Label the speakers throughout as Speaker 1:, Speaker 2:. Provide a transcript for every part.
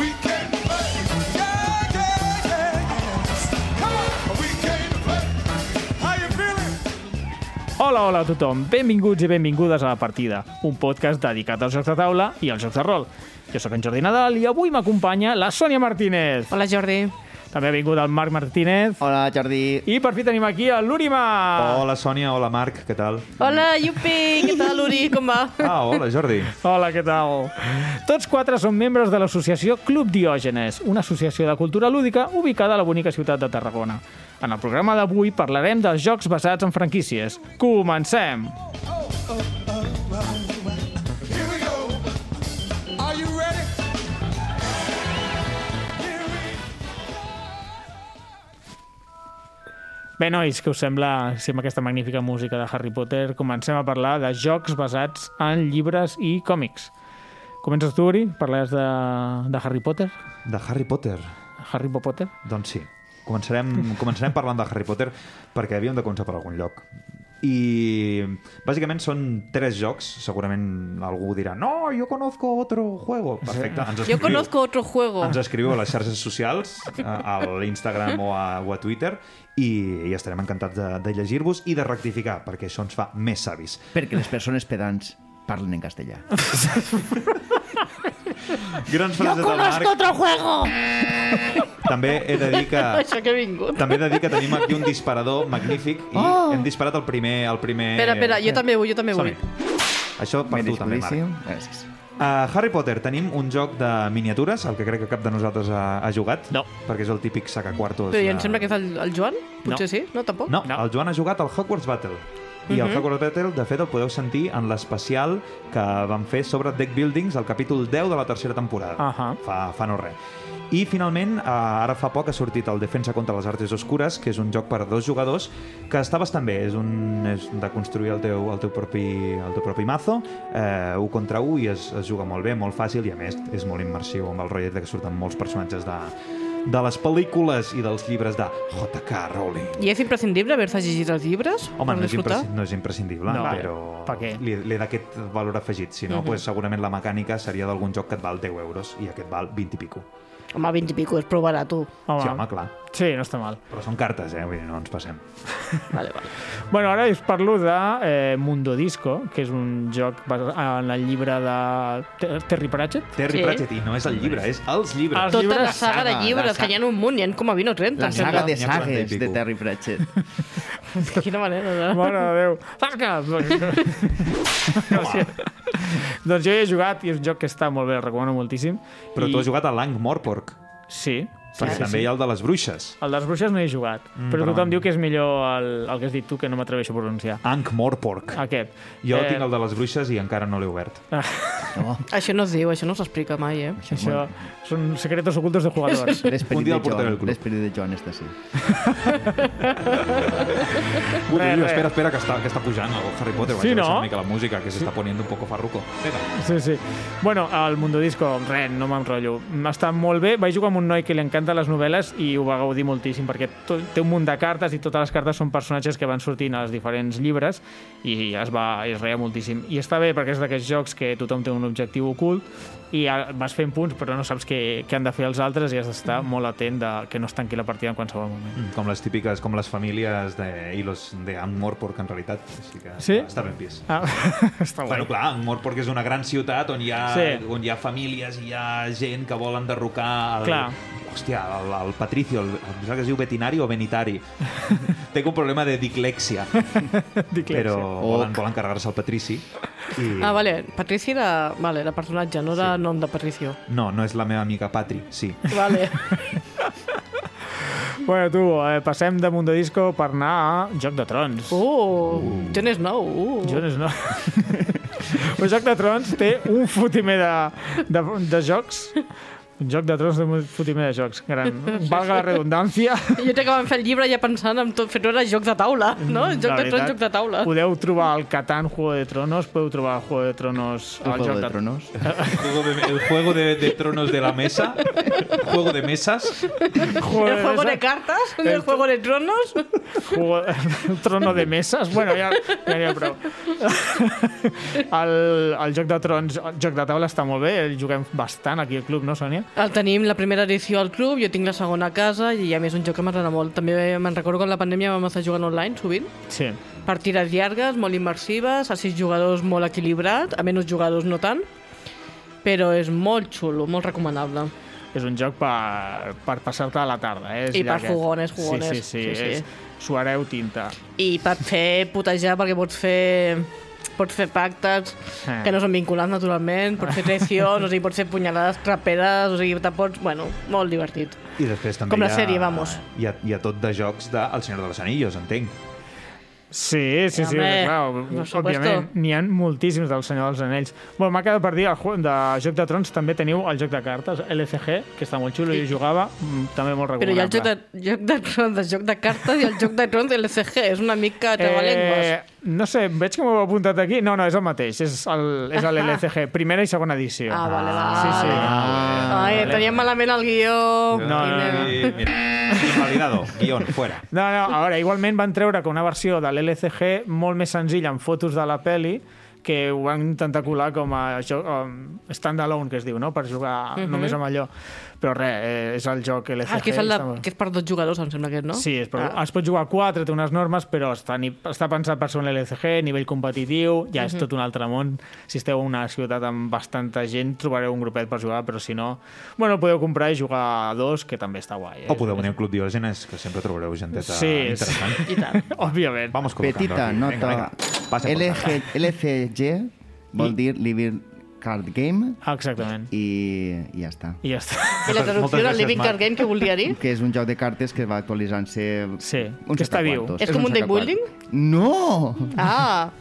Speaker 1: We came to play. Yeah, yeah, yeah. Come on. We came to play. How you feeling?
Speaker 2: Hola, hola a tothom. Benvinguts i benvingudes a La Partida, un podcast dedicat als jocs de taula i als jocs de rol. Jo sóc en Jordi Nadal i avui m'acompanya la Sònia Martínez.
Speaker 3: Hola, Jordi.
Speaker 2: També ha vingut el Marc Martínez.
Speaker 4: Hola, Jordi.
Speaker 2: I per fi tenim aquí el Lurima.
Speaker 3: Ah.
Speaker 5: Hola, Sònia. Hola, Marc. Què tal?
Speaker 3: Hola, Yupi! Què tal, Uri? Com va?
Speaker 5: Ah, hola, Jordi.
Speaker 2: Hola, què tal? Tots quatre són membres de l'associació Club Diògenes, una associació de cultura lúdica ubicada a la bonica ciutat de Tarragona. En el programa d'avui parlarem dels jocs basats en franquícies. Comencem!
Speaker 1: Here we go. Are you ready? Here we
Speaker 2: Bé, nois, què us sembla si amb aquesta magnífica música de Harry Potter comencem a parlar de jocs basats en llibres i còmics? Comences tu, Uri? Parles de, de Harry Potter?
Speaker 5: De Harry Potter.
Speaker 2: Harry Potter?
Speaker 5: Doncs sí. Començarem, començarem parlant de Harry Potter perquè havíem de començar per algun lloc. I bàsicament són tres jocs. Segurament algú dirà no, jo conozco otro juego. Perfecte. Ens
Speaker 3: Jo
Speaker 5: escriviu.
Speaker 3: conozco otro juego.
Speaker 5: Ens escriviu a les xarxes socials, a, a l'Instagram o, a- o a Twitter, i, i estarem encantats de, de llegir-vos i de rectificar, perquè això ens fa més savis.
Speaker 4: Perquè les persones pedants parlen en castellà.
Speaker 5: Grans frases del Marc.
Speaker 3: otro juego!
Speaker 5: També he de dir que...
Speaker 3: Això que he vingut.
Speaker 5: També he de dir que tenim aquí un disparador magnífic i oh. hem disparat el primer... El primer...
Speaker 3: Espera, espera, jo també vull, jo també vull.
Speaker 5: eh, Som-hi. Això per tu també, Marc.
Speaker 4: Benvingutíssim. Gràcies.
Speaker 5: A Harry Potter tenim un joc de miniatures, el que crec que cap de nosaltres ha, ha jugat,
Speaker 2: No.
Speaker 5: perquè és el típic sacaquartos.
Speaker 3: Però
Speaker 5: de-
Speaker 3: jo em sembla que és el, el Joan? Potser
Speaker 2: No.
Speaker 3: sí? No, tampoc?
Speaker 5: Doncs No,
Speaker 2: No.
Speaker 5: no, el Joan ha jugat al Hogwarts Battle. I
Speaker 3: Mhm.
Speaker 5: el Hogwarts Battle, de fet, el podeu sentir en l'especial que vam fer sobre Deck Buildings, al capítol 10 de la tercera temporada.
Speaker 2: Ahà.
Speaker 5: fa, fa no res. I finalment, eh, ara fa poc ha sortit el Defensa contra les Artes Oscures, que és un joc per a dos jugadors, que està bastant bé, és, un, és de construir el teu, el teu, propi, el teu propi mazo, eh, un contra un, i es, es juga molt bé, molt fàcil, i a més és molt immersiu amb el rotllet de que surten molts personatges de, de les pel·lícules i dels llibres de J.K. Rowling.
Speaker 3: I és imprescindible haver-se llegit els llibres
Speaker 5: Home,
Speaker 3: per
Speaker 5: no és,
Speaker 3: disfrutar?
Speaker 5: impresci- no és imprescindible,
Speaker 2: No.
Speaker 5: no, però
Speaker 2: Per què? Mhm.
Speaker 5: li, li da aquest valor afegit. Si no, pues, segurament la mecànica seria d'algun joc que et val 10 euros i aquest val 20 i pico.
Speaker 3: Home, 20 i pico, és prou barat, tu.
Speaker 2: Home,
Speaker 5: Sí, home, clar.
Speaker 2: sí, no està mal.
Speaker 5: Però són cartes, eh? Vull dir, no ens passem.
Speaker 3: Vale, vale.
Speaker 2: Bueno, ara us parlo de eh, Mundo Disco, que és un joc basat en el llibre de Ter- Terry Pratchett.
Speaker 5: Terry
Speaker 3: Sí.
Speaker 5: Pratchett, i no és el llibre, és els llibres.
Speaker 2: Els-
Speaker 3: Tota
Speaker 2: llibres,
Speaker 3: la saga de
Speaker 4: saga, la
Speaker 3: llibres,
Speaker 4: saga.
Speaker 3: que hi ha un munt, hi ha com a 20 o 30.
Speaker 4: La
Speaker 3: em
Speaker 4: saga
Speaker 3: sembla.
Speaker 4: de
Speaker 5: N'hi ha quaranta i
Speaker 4: sagues
Speaker 5: pico.
Speaker 4: de Terry Pratchett.
Speaker 3: Quina manera, no?
Speaker 2: Mare de Déu. Zasca! Gràcies. doncs jo hi he jugat i és un joc que està molt bé, el recomano moltíssim.
Speaker 5: Però tu has jugat a Langmorpork,
Speaker 2: jugat... Sí.
Speaker 5: perquè
Speaker 2: sí,
Speaker 5: també hi ha el de les bruixes.
Speaker 2: El de les bruixes no hi he jugat, mm, però
Speaker 5: però-
Speaker 2: tothom diu que és millor el, el que has dit tu, que no m'atreveixo a pronunciar.
Speaker 5: Ankh-Morpork.
Speaker 2: Aquest.
Speaker 5: Jo
Speaker 2: eh.
Speaker 5: tinc el de les bruixes i encara no l'he obert.
Speaker 4: No,
Speaker 3: Això no es diu, això no s'explica mai, eh?
Speaker 4: això,
Speaker 2: Això són secretos ocultos de jugadors.
Speaker 5: Un
Speaker 4: L'esperit
Speaker 5: dia
Speaker 4: de
Speaker 5: el portaré al
Speaker 4: Joan,
Speaker 5: club.
Speaker 4: l'esperit de Joan està així.
Speaker 5: Ui,
Speaker 2: Res,
Speaker 5: ui,
Speaker 2: res.
Speaker 5: espera, espera, que està, que està pujant el Harry Potter.
Speaker 2: Sí,
Speaker 5: Vaig a
Speaker 2: no?
Speaker 5: baixar una mica la música, que s'està poniendo un poco farruco. Vinga.
Speaker 2: Sí, sí. Bueno, el Mundo Disco, res, no m'enrotllo. Està molt bé. Vaig jugar amb un noi que li encanta les novel·les i ho va gaudir moltíssim, perquè to- té un munt de cartes i totes les cartes són personatges que van sortint als diferents llibres i es va i es reia moltíssim. I està bé perquè és d'aquests jocs que tothom té un objectiu ocult i ah, vas fent punts però no saps què, què han de fer els altres i has d'estar molt atent de que no es tanqui la partida en qualsevol moment.
Speaker 5: Mm, Com les típiques, com les famílies de, i los de Ankh-Morpork, en realitat. Així que
Speaker 2: Sí?
Speaker 5: està ben vist.
Speaker 2: Ah, està guai.
Speaker 5: Bueno, clar, Ankh-Morpork és una gran ciutat on hi, ha,
Speaker 2: Sí.
Speaker 5: sí. on hi ha famílies i hi ha gent que vol enderrocar el...
Speaker 2: Clar.
Speaker 5: Hòstia, el, el Patricio, el, em sembla que es diu Betinari o Benitari. Tenc un problema de diclèxia,
Speaker 2: Diclèxia.
Speaker 5: però volen,
Speaker 4: Oc.
Speaker 5: volen carregar-se el Patrici. I...
Speaker 3: Ah, vale, Patrici era... Vale, era personatge, no era
Speaker 5: Sí.
Speaker 3: nom de Patricio.
Speaker 5: No, no és la meva amiga Patri, sí.
Speaker 3: Vale.
Speaker 2: Bueno, tu, eh, passem de Mundo Disco per anar a Joc de Trons.
Speaker 3: Uh, Jon Snow. Uh.
Speaker 2: Jo no. El Joc de Trons té un fotimer de, de, de jocs Un joc de trons de fotimer de jocs. Gran. Valga la redundància.
Speaker 3: Jo crec que vam fer el llibre ja pensant en tot, fent-ho era joc de taula, no? Joc
Speaker 2: La
Speaker 3: de trons,
Speaker 2: veritat,
Speaker 3: joc de taula.
Speaker 2: Podeu trobar el Catan Juego de Tronos, podeu trobar el Juego de Tronos
Speaker 4: El
Speaker 2: al
Speaker 4: juego
Speaker 2: joc
Speaker 4: de tronos.
Speaker 5: El juego de, el juego de- de tronos de la mesa. Juego de mesas.
Speaker 2: Juego
Speaker 3: El juego
Speaker 2: mesa-
Speaker 3: de cartas, el juego de tronos.
Speaker 2: juego, el trono de mesas. Bueno, ja, ja n'hi ha prou. El, el joc de trons, el joc de taula està molt bé, el juguem bastant aquí al club, no, Sònia?
Speaker 3: El tenim la primera edició al club, jo tinc la segona a casa i a més un joc que m'agrada molt. També me'n recordo que en la pandèmia vam estar jugant online sovint.
Speaker 2: Sí.
Speaker 3: Partides llargues, molt immersives, a sis jugadors molt equilibrat, a menys jugadors no tant, però és molt xulo, molt recomanable.
Speaker 2: És un joc per, per passar-te a la tarda. Eh? És
Speaker 3: I per
Speaker 2: llarguet.
Speaker 3: fogones, fogones.
Speaker 2: Sí, sí, sí.
Speaker 3: Sí, sí.
Speaker 2: sí, sí. Suareu tinta.
Speaker 3: I per fer putejar, perquè pots fer pots fer pactes
Speaker 2: Ah.
Speaker 3: que no són vinculants naturalment, pots fer traicions, o sigui, pots fer punyalades traperes, o sigui, te pots... Bueno, molt divertit.
Speaker 5: I després també
Speaker 3: Com la
Speaker 5: hi ha,
Speaker 3: sèrie, vamos.
Speaker 5: Hi ha, hi ha tot de jocs de El Senyor de los Anillos, entenc.
Speaker 2: Sí, sí, sí,
Speaker 3: Home,
Speaker 2: clar,
Speaker 3: por supuesto.
Speaker 2: òbviament. N'hi ha moltíssims del Senyor dels Anells. Bueno, m'ha quedat per dir, el ju- de Joc de Trons també teniu el joc de cartes, LCG, que està molt xulo, jo
Speaker 3: Sí.
Speaker 2: hi jugava, mm, també molt
Speaker 3: Però hi
Speaker 2: recomanable.
Speaker 3: ha el joc de, joc de trons, el joc de cartes i el joc de trons de l'SG, és una mica trabalengües. Eh...
Speaker 2: no sé, veig que m'ho heu apuntat aquí. No, no, és el mateix, és el, és el LCG, primera i segona edició.
Speaker 3: Ah, vale, vale.
Speaker 2: sí, sí.
Speaker 3: Ai, teníem malament el guió.
Speaker 2: No, no, no, no.
Speaker 5: I, Eh, mira, invalidado, guión, fuera.
Speaker 2: No, no, a veure, igualment van treure que una versió de l'LCG molt més senzilla amb fotos de la peli que ho van intentar colar com a jo- um, stand-alone, que es diu, no? per jugar només amb allò. Però res, eh, és el joc LCG.
Speaker 3: Mhm. Ah, que és, el de,
Speaker 2: està molt-
Speaker 3: que és per dos jugadors, em sembla que és, no?
Speaker 2: Sí, es, ah. es pot jugar a 4, té unes normes, però està, ni, està pensat per ser un LCG, nivell competitiu, ja
Speaker 3: Mhm.
Speaker 2: és tot un altre món. Si esteu en una ciutat amb bastanta gent, trobareu un grupet per jugar, però si no... Bueno, podeu comprar i jugar a dos, que també està guai. Eh?
Speaker 5: O podeu venir al Club Diògenes, que sempre trobareu
Speaker 2: Sí,
Speaker 5: genteta
Speaker 2: sí.
Speaker 5: interessant.
Speaker 3: I tant.
Speaker 2: Òbviament.
Speaker 5: Vamos colocando
Speaker 4: Petita
Speaker 5: aquí. Vinga,
Speaker 4: nota.
Speaker 5: vinga. Passa por
Speaker 4: LG, LCG vol dir Living Card Game
Speaker 2: Exactament. I,
Speaker 4: i ja està.
Speaker 2: I ja està.
Speaker 3: I la
Speaker 5: Moltes
Speaker 3: traducció de
Speaker 5: gràcies,
Speaker 3: Living
Speaker 5: Marc.
Speaker 3: Card Game, que volia dir?
Speaker 4: Que és un joc de cartes que va actualitzant-se...
Speaker 2: Sí,
Speaker 4: uns
Speaker 2: que està viu.
Speaker 4: sacaquartos.
Speaker 3: És com un deck
Speaker 4: sacaquart-
Speaker 3: building?
Speaker 4: No!
Speaker 3: Ah,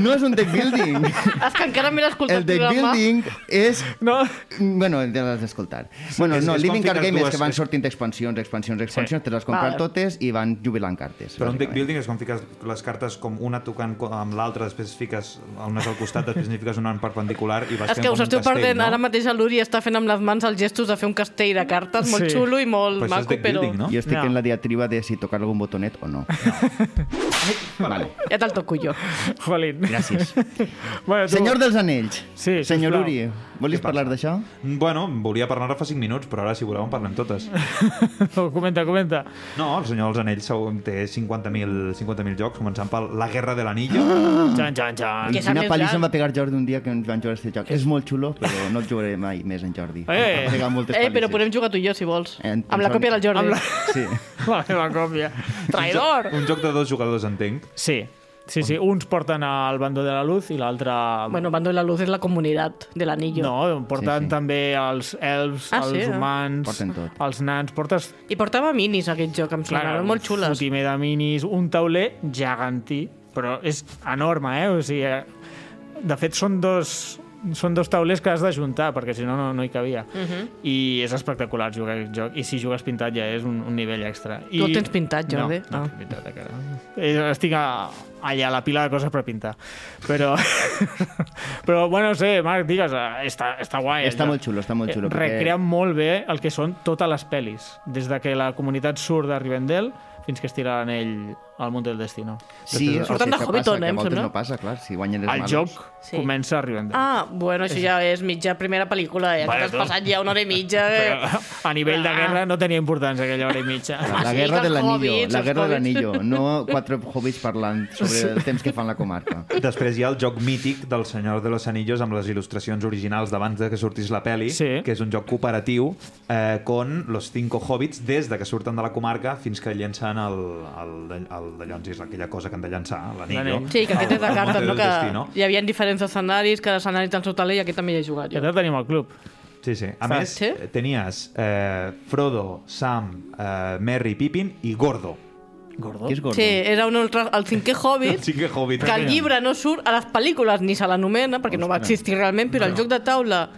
Speaker 4: No és un deck building!
Speaker 3: és que encara m'he escoltat
Speaker 4: El deck building és
Speaker 2: No?
Speaker 4: Bueno, ja l'has d'escoltar. Bueno,
Speaker 5: és-
Speaker 4: no,
Speaker 5: és
Speaker 4: Living
Speaker 5: com
Speaker 4: Card
Speaker 5: ficar
Speaker 4: Game és
Speaker 5: dues-
Speaker 4: que van
Speaker 5: és-
Speaker 4: sortint expansions, expansions, expansions, te les has comprat
Speaker 3: Vale.
Speaker 4: totes i van jubilant cartes.
Speaker 5: Però un deck
Speaker 4: bàsicament.
Speaker 5: building és com fiques les cartes com una tocant co- amb l'altra, després fiques unes al costat, després n'hi fiques una en perpendicular i vas
Speaker 3: És
Speaker 5: fent
Speaker 3: que
Speaker 5: com
Speaker 3: us
Speaker 5: un
Speaker 3: esteu
Speaker 5: castell,
Speaker 3: perdent.
Speaker 5: no?
Speaker 3: Ara mateix l'Uri està fent amb les mans els gestos de fer un castell de cartes, molt
Speaker 2: Sí.
Speaker 3: xulo i molt
Speaker 5: Però això és
Speaker 3: maco,
Speaker 5: deck
Speaker 3: però...
Speaker 5: building, no?
Speaker 4: Jo estic
Speaker 2: No.
Speaker 4: en la diatriba de si tocar algun botonet o no. vale.
Speaker 3: Ja te'l toco jo.
Speaker 2: Jolín.
Speaker 4: Gràcies.
Speaker 2: Bueno, tu...
Speaker 4: Senyor dels Anells.
Speaker 2: Sí,
Speaker 4: Senyor
Speaker 2: sisplau.
Speaker 4: Uri, volies parlar d'això?
Speaker 5: Bueno, volia parlar-ne fa 5 minuts, però ara, si voleu, en parlem totes.
Speaker 2: Oh, Comenta, comenta.
Speaker 5: No, el Senyor dels Anells segur que té 50.000 50.000 jocs, començant per La Guerra de l'Anillo.
Speaker 2: Xan, xan, xan.
Speaker 3: Que s'ha
Speaker 4: Quina
Speaker 3: més
Speaker 4: pallissa
Speaker 3: gran.
Speaker 4: em va pegar Jordi un dia que ens van jugar a este joc. És molt xulo, però no el jugaré mai més en Jordi. Em
Speaker 2: Eh.
Speaker 4: va pegar moltes
Speaker 3: Eh, però
Speaker 4: pallisses.
Speaker 3: podem jugar tu i jo, si vols.
Speaker 4: En-
Speaker 3: Amb la
Speaker 4: en-
Speaker 3: còpia del Jordi.
Speaker 2: Amb la...
Speaker 4: Sí.
Speaker 2: la meva còpia. Traïdor!
Speaker 5: Un joc de dos jugadors, entenc.
Speaker 2: Sí. Sí, sí, uns porten al bando de la luz i l'altre...
Speaker 3: Bueno, Bando de la Luz és la comunitat de l'anillo.
Speaker 2: No, porten
Speaker 4: Sí, sí.
Speaker 2: també els elfs,
Speaker 3: Ah,
Speaker 2: els
Speaker 3: sí, eh?
Speaker 2: humans,
Speaker 4: Porten tot.
Speaker 2: els nans, portes...
Speaker 3: I portava minis, aquest joc, em sembla, Doncs molt xules.
Speaker 2: Fotimer de minis, un tauler gegantí, però és enorme, eh? O sigui, eh, de fet, són dos, són dos taulers que has d'ajuntar, perquè si no, no, no hi cabia.
Speaker 3: Mhm.
Speaker 2: I és espectacular jugar a aquest joc. I si jugues pintat ja és un, un nivell extra. I...
Speaker 3: Tu el tens pintat, Jordi?
Speaker 2: No, no
Speaker 3: Ah.
Speaker 2: ah. pintat encara. Eh, Estic a, allà a la pila de coses per pintar. Però, però bueno, no sé, Marc, digues, eh, està, està guai. el
Speaker 4: Està
Speaker 2: joc.
Speaker 4: molt xulo, està molt xulo,
Speaker 2: Eh,
Speaker 4: perquè-
Speaker 2: Recrea molt bé el que són totes les pel·lis. Des de que la comunitat surt de Rivendell fins que es tira l'anell al món del destino.
Speaker 4: Sí,
Speaker 5: Surten
Speaker 4: o sigui,
Speaker 3: de
Speaker 4: què
Speaker 3: Hobbiton,
Speaker 4: passa?
Speaker 3: eh,
Speaker 4: Que a
Speaker 3: em
Speaker 4: voltes
Speaker 3: sembla.
Speaker 4: no passa, clar, si guanyen els
Speaker 2: El
Speaker 4: malos.
Speaker 2: joc
Speaker 3: Sí.
Speaker 2: comença a Rivendell.
Speaker 3: Ah, bueno, això ja és mitja primera pel·lícula,
Speaker 2: Bueno,
Speaker 3: eh? Bueno, has
Speaker 2: tu.
Speaker 3: passat ja una hora i mitja.
Speaker 2: Però,
Speaker 3: Eh?
Speaker 2: a nivell de guerra no tenia importància aquella hora i mitja.
Speaker 4: La, la
Speaker 3: sí,
Speaker 4: guerra
Speaker 3: que
Speaker 4: de
Speaker 3: els
Speaker 4: l'anillo,
Speaker 3: hobbits,
Speaker 4: la
Speaker 3: els
Speaker 4: guerra de
Speaker 3: hobbits.
Speaker 4: l'anillo, no quatre hobbits parlant sobre el temps que fan la comarca.
Speaker 5: Després hi ha el joc mític del Senyor de los Anillos amb les il·lustracions originals d'abans de que sortís la peli,
Speaker 2: Sí.
Speaker 5: que és un joc cooperatiu eh, con los cinco hobbits des de que surten de la comarca fins que llencen el, el, de- el de Llonsis, aquella cosa que han de llançar, l'anillo.
Speaker 2: L'anell.
Speaker 3: Sí, que aquest és de
Speaker 5: Al- al Monte
Speaker 3: cartes, no?
Speaker 5: Ah, del
Speaker 3: Que
Speaker 5: Destino.
Speaker 3: hi havia diferents escenaris, cada escenari té el seu taler i aquest també hi he jugat
Speaker 2: Ja
Speaker 3: jo.
Speaker 2: te'l tenim al club.
Speaker 5: Sí, sí. A
Speaker 2: Saps?
Speaker 5: més,
Speaker 3: Sí?
Speaker 5: tenies eh, Frodo, Sam, eh, Merry, Pippin i Gordo.
Speaker 2: Gordo.
Speaker 4: Què és gordo?
Speaker 3: Oh, Sí, era un ultra, el cinquè
Speaker 5: El
Speaker 3: Hobbit,
Speaker 5: cinquè hobbit.
Speaker 3: que el llibre no surt a les pel·lícules ni se l'anomena, perquè no va existir realment, però el joc de taula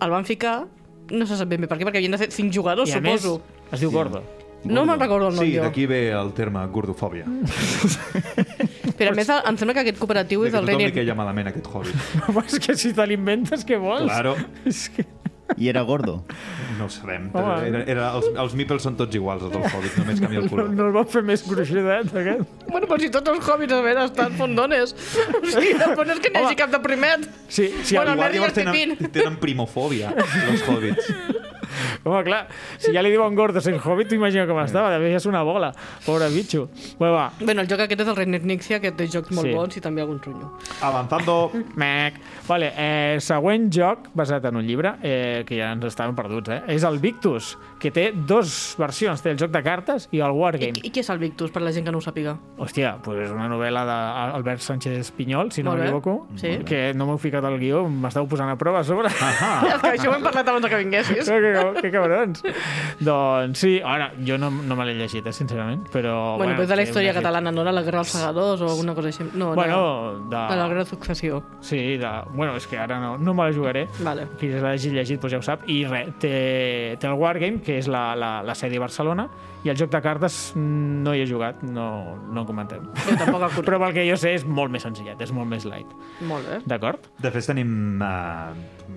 Speaker 3: el van ficar no se sap ben bé per què, perquè havien de ser cinc jugadors,
Speaker 2: I a més,
Speaker 3: suposo.
Speaker 2: es diu Gordo.
Speaker 3: No me'n recordo el nom
Speaker 5: Sí,
Speaker 3: jo.
Speaker 5: d'aquí ve el terme gordofòbia.
Speaker 3: Però a més, em sembla que aquest cooperatiu
Speaker 5: De
Speaker 3: és
Speaker 5: que
Speaker 3: del
Speaker 5: tothom
Speaker 3: Regne...
Speaker 5: li queia malament aquest hobby.
Speaker 2: és que si te l'inventes, què vols?
Speaker 5: Claro,
Speaker 2: És que...
Speaker 4: I era gordo.
Speaker 5: no ho sabem.
Speaker 2: Home.
Speaker 5: Era, era, els, els meeples són tots iguals, els del Hobbit, només canvia el
Speaker 2: No,
Speaker 5: color.
Speaker 2: no el van fer més gruixudet, aquest?
Speaker 3: Bueno, però si tots els hobbits a veure estan fondones. O sigui, tampoc no és que n'hi hagi cap de primet.
Speaker 2: Sí, sí,
Speaker 3: Bueno,
Speaker 2: bueno,
Speaker 5: Igual
Speaker 3: Albert
Speaker 5: llavors
Speaker 3: i el
Speaker 5: tenen,
Speaker 3: Pipín.
Speaker 5: tenen primofòbia, els hobbits.
Speaker 2: home, clar, si ja li diuen gordo sent hobbit, tu imagina com estava, devia ser una bola, pobre bitxo. Bueno, va,
Speaker 3: Bueno, el joc aquest és el Regne Nixia, que té jocs molt
Speaker 2: Sí.
Speaker 3: bons i també algun trunyo.
Speaker 5: Avanzando.
Speaker 2: Mec. Vale, eh, següent joc basat en un llibre, eh, que ja ens estàvem perduts, eh? és el Victus, que té dos versions, té el joc de cartes i el
Speaker 3: I,
Speaker 2: Wargame.
Speaker 3: I qui és el Victus, per la gent que no ho sàpiga?
Speaker 2: Hòstia, pues és una novel·la d'Albert Sánchez Pinyol, si no
Speaker 3: Molt bé.
Speaker 2: m'equivoco,
Speaker 3: Sí. Ah.
Speaker 2: que no m'heu ficat al guió, m'esteu posant a prova a sobre.
Speaker 3: És que això ho hem parlat abans que vinguessis.
Speaker 2: que, que, que cabrons. doncs sí, ara, jo no, no me l'he llegit, eh, sincerament, però...
Speaker 3: Bueno, però és de la
Speaker 2: sí,
Speaker 3: història
Speaker 2: una-
Speaker 3: catalana, no? De la Guerra dels Segadors o alguna cosa així. No,
Speaker 2: Bueno, de...
Speaker 3: de... de la Guerra de Successió.
Speaker 2: Sí, de... bueno, és que ara no, no me la jugaré.
Speaker 3: Vale.
Speaker 2: Qui se l'hagi llegit doncs ja ho sap. I res, té, té el Wargame, que és la, la, la sèrie Barcelona, i el joc de cartes mm, no hi he jugat, no, no en comentem.
Speaker 3: Jo tampoc el
Speaker 2: Però pel que jo sé és molt més senzillet, és molt més light.
Speaker 3: conec. Molt eh? bé.
Speaker 2: D'acord?
Speaker 5: De fet, tenim eh,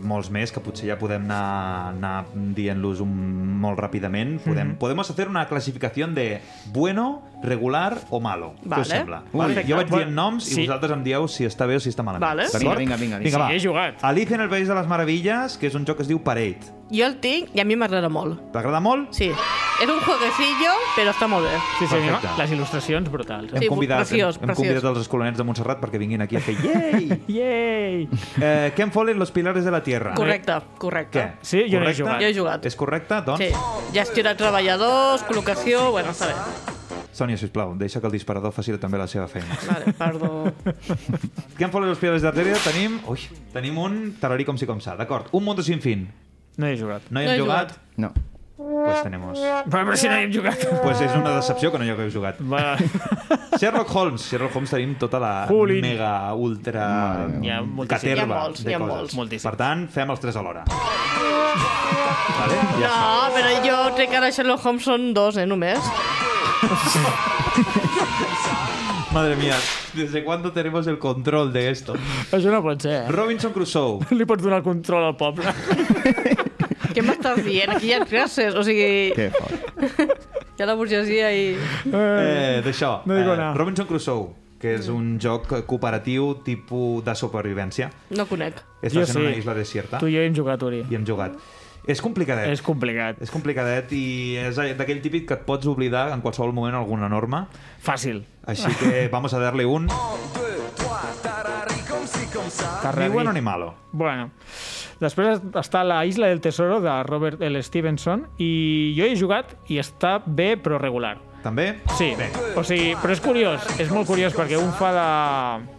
Speaker 5: molts més que potser ja podem anar, anar dient-los un- molt
Speaker 2: Mm-hmm.
Speaker 5: ràpidament. Podem, Podemos hacer una classificació de bueno, regular o malo. Què
Speaker 3: Vale.
Speaker 5: us sembla?
Speaker 4: Ui.
Speaker 5: Vale, jo vaig
Speaker 2: Perfecte.
Speaker 5: dient noms
Speaker 2: Sí.
Speaker 5: i vosaltres em dieu si està bé o si està malament.
Speaker 3: Vale.
Speaker 4: Vinga,
Speaker 5: D'acord?
Speaker 4: vinga, vinga, vinga.
Speaker 5: vinga va.
Speaker 2: Sí, he jugat.
Speaker 5: Alicia en el País de les Meravilles, que és un joc que es diu Parade.
Speaker 3: Jo el tinc i a mi m'agrada molt.
Speaker 5: T'agrada molt?
Speaker 3: Sí. És un jueguecillo, però està molt bé.
Speaker 2: Sí, sí,
Speaker 5: Perfecte.
Speaker 2: no? les il·lustracions brutals. Eh?
Speaker 3: Sí,
Speaker 5: hem,
Speaker 3: preciós,
Speaker 5: hem
Speaker 3: preciós.
Speaker 5: convidat els escolanets de Montserrat perquè vinguin aquí a fer yay!
Speaker 2: Yay!
Speaker 5: eh, Ken Follett, Los Pilares de la Tierra.
Speaker 3: Correcte, correcte.
Speaker 5: Què?
Speaker 2: Sí, jo no he
Speaker 5: Correcte?
Speaker 2: jugat.
Speaker 3: Jo he jugat.
Speaker 5: És correcte, doncs?
Speaker 3: Sí. Gestió de treballadors, col·locació... Bueno, està bé.
Speaker 5: Sònia, sisplau, deixa que el disparador faci també la seva feina.
Speaker 3: Vale, perdó.
Speaker 5: Ken Follett, Los Pilares de la Tierra, tenim... Ui, tenim un tararí com si com s'ha. D'acord, un mundo sin fin.
Speaker 2: No hi he jugat.
Speaker 5: No hi
Speaker 3: No
Speaker 5: hem
Speaker 3: he
Speaker 5: jugat.
Speaker 3: jugat.
Speaker 4: No.
Speaker 5: Pues tenemos...
Speaker 2: Però, però si no hi hem jugat.
Speaker 5: Pues és una decepció que no hi hagueu jugat.
Speaker 2: Va,
Speaker 5: Sherlock Holmes. Sherlock Holmes tenim tota la
Speaker 2: Jolín.
Speaker 5: mega, ultra...
Speaker 2: Hi ha moltíssims.
Speaker 5: caterva
Speaker 3: Hi ha molts,
Speaker 5: de
Speaker 3: hi ha
Speaker 5: coses.
Speaker 3: molts.
Speaker 2: Moltíssims.
Speaker 5: Per tant, fem els tres alhora. vale? Ja està.
Speaker 3: No, però jo crec que ara Sherlock Holmes són dos, eh, només.
Speaker 5: Madre mía, ¿desde cuándo tenemos el control de esto?
Speaker 2: això no pot ser, eh?
Speaker 5: Robinson Crusoe.
Speaker 2: Li pots donar el control al poble.
Speaker 3: Què m'estàs dient? Aquí hi ha classes, o sigui,
Speaker 4: Que fort.
Speaker 3: hi ha la burgesia i...
Speaker 5: Eh, D'això.
Speaker 2: No digo
Speaker 5: eh,
Speaker 2: nada.
Speaker 5: Robinson Crusoe, que és un joc cooperatiu tipus de supervivència.
Speaker 3: No conec.
Speaker 2: Jo
Speaker 5: Estàs en
Speaker 2: sí.
Speaker 5: una isla desierta
Speaker 2: Tu i jo hi hem jugat, Uri.
Speaker 5: i hem jugat. És complicadet.
Speaker 2: És complicat.
Speaker 5: És complicadet i és d'aquell típic que et pots oblidar en qualsevol moment alguna norma.
Speaker 2: Fàcil.
Speaker 5: Així que vamos a darle un ni bueno ni malo.
Speaker 2: Bueno, després està la Isla del Tesoro de Robert L. Stevenson i jo hi he jugat i està bé però regular.
Speaker 5: També?
Speaker 2: Sí,
Speaker 5: Bé.
Speaker 2: o sigui, però és curiós, és molt curiós perquè un fa de...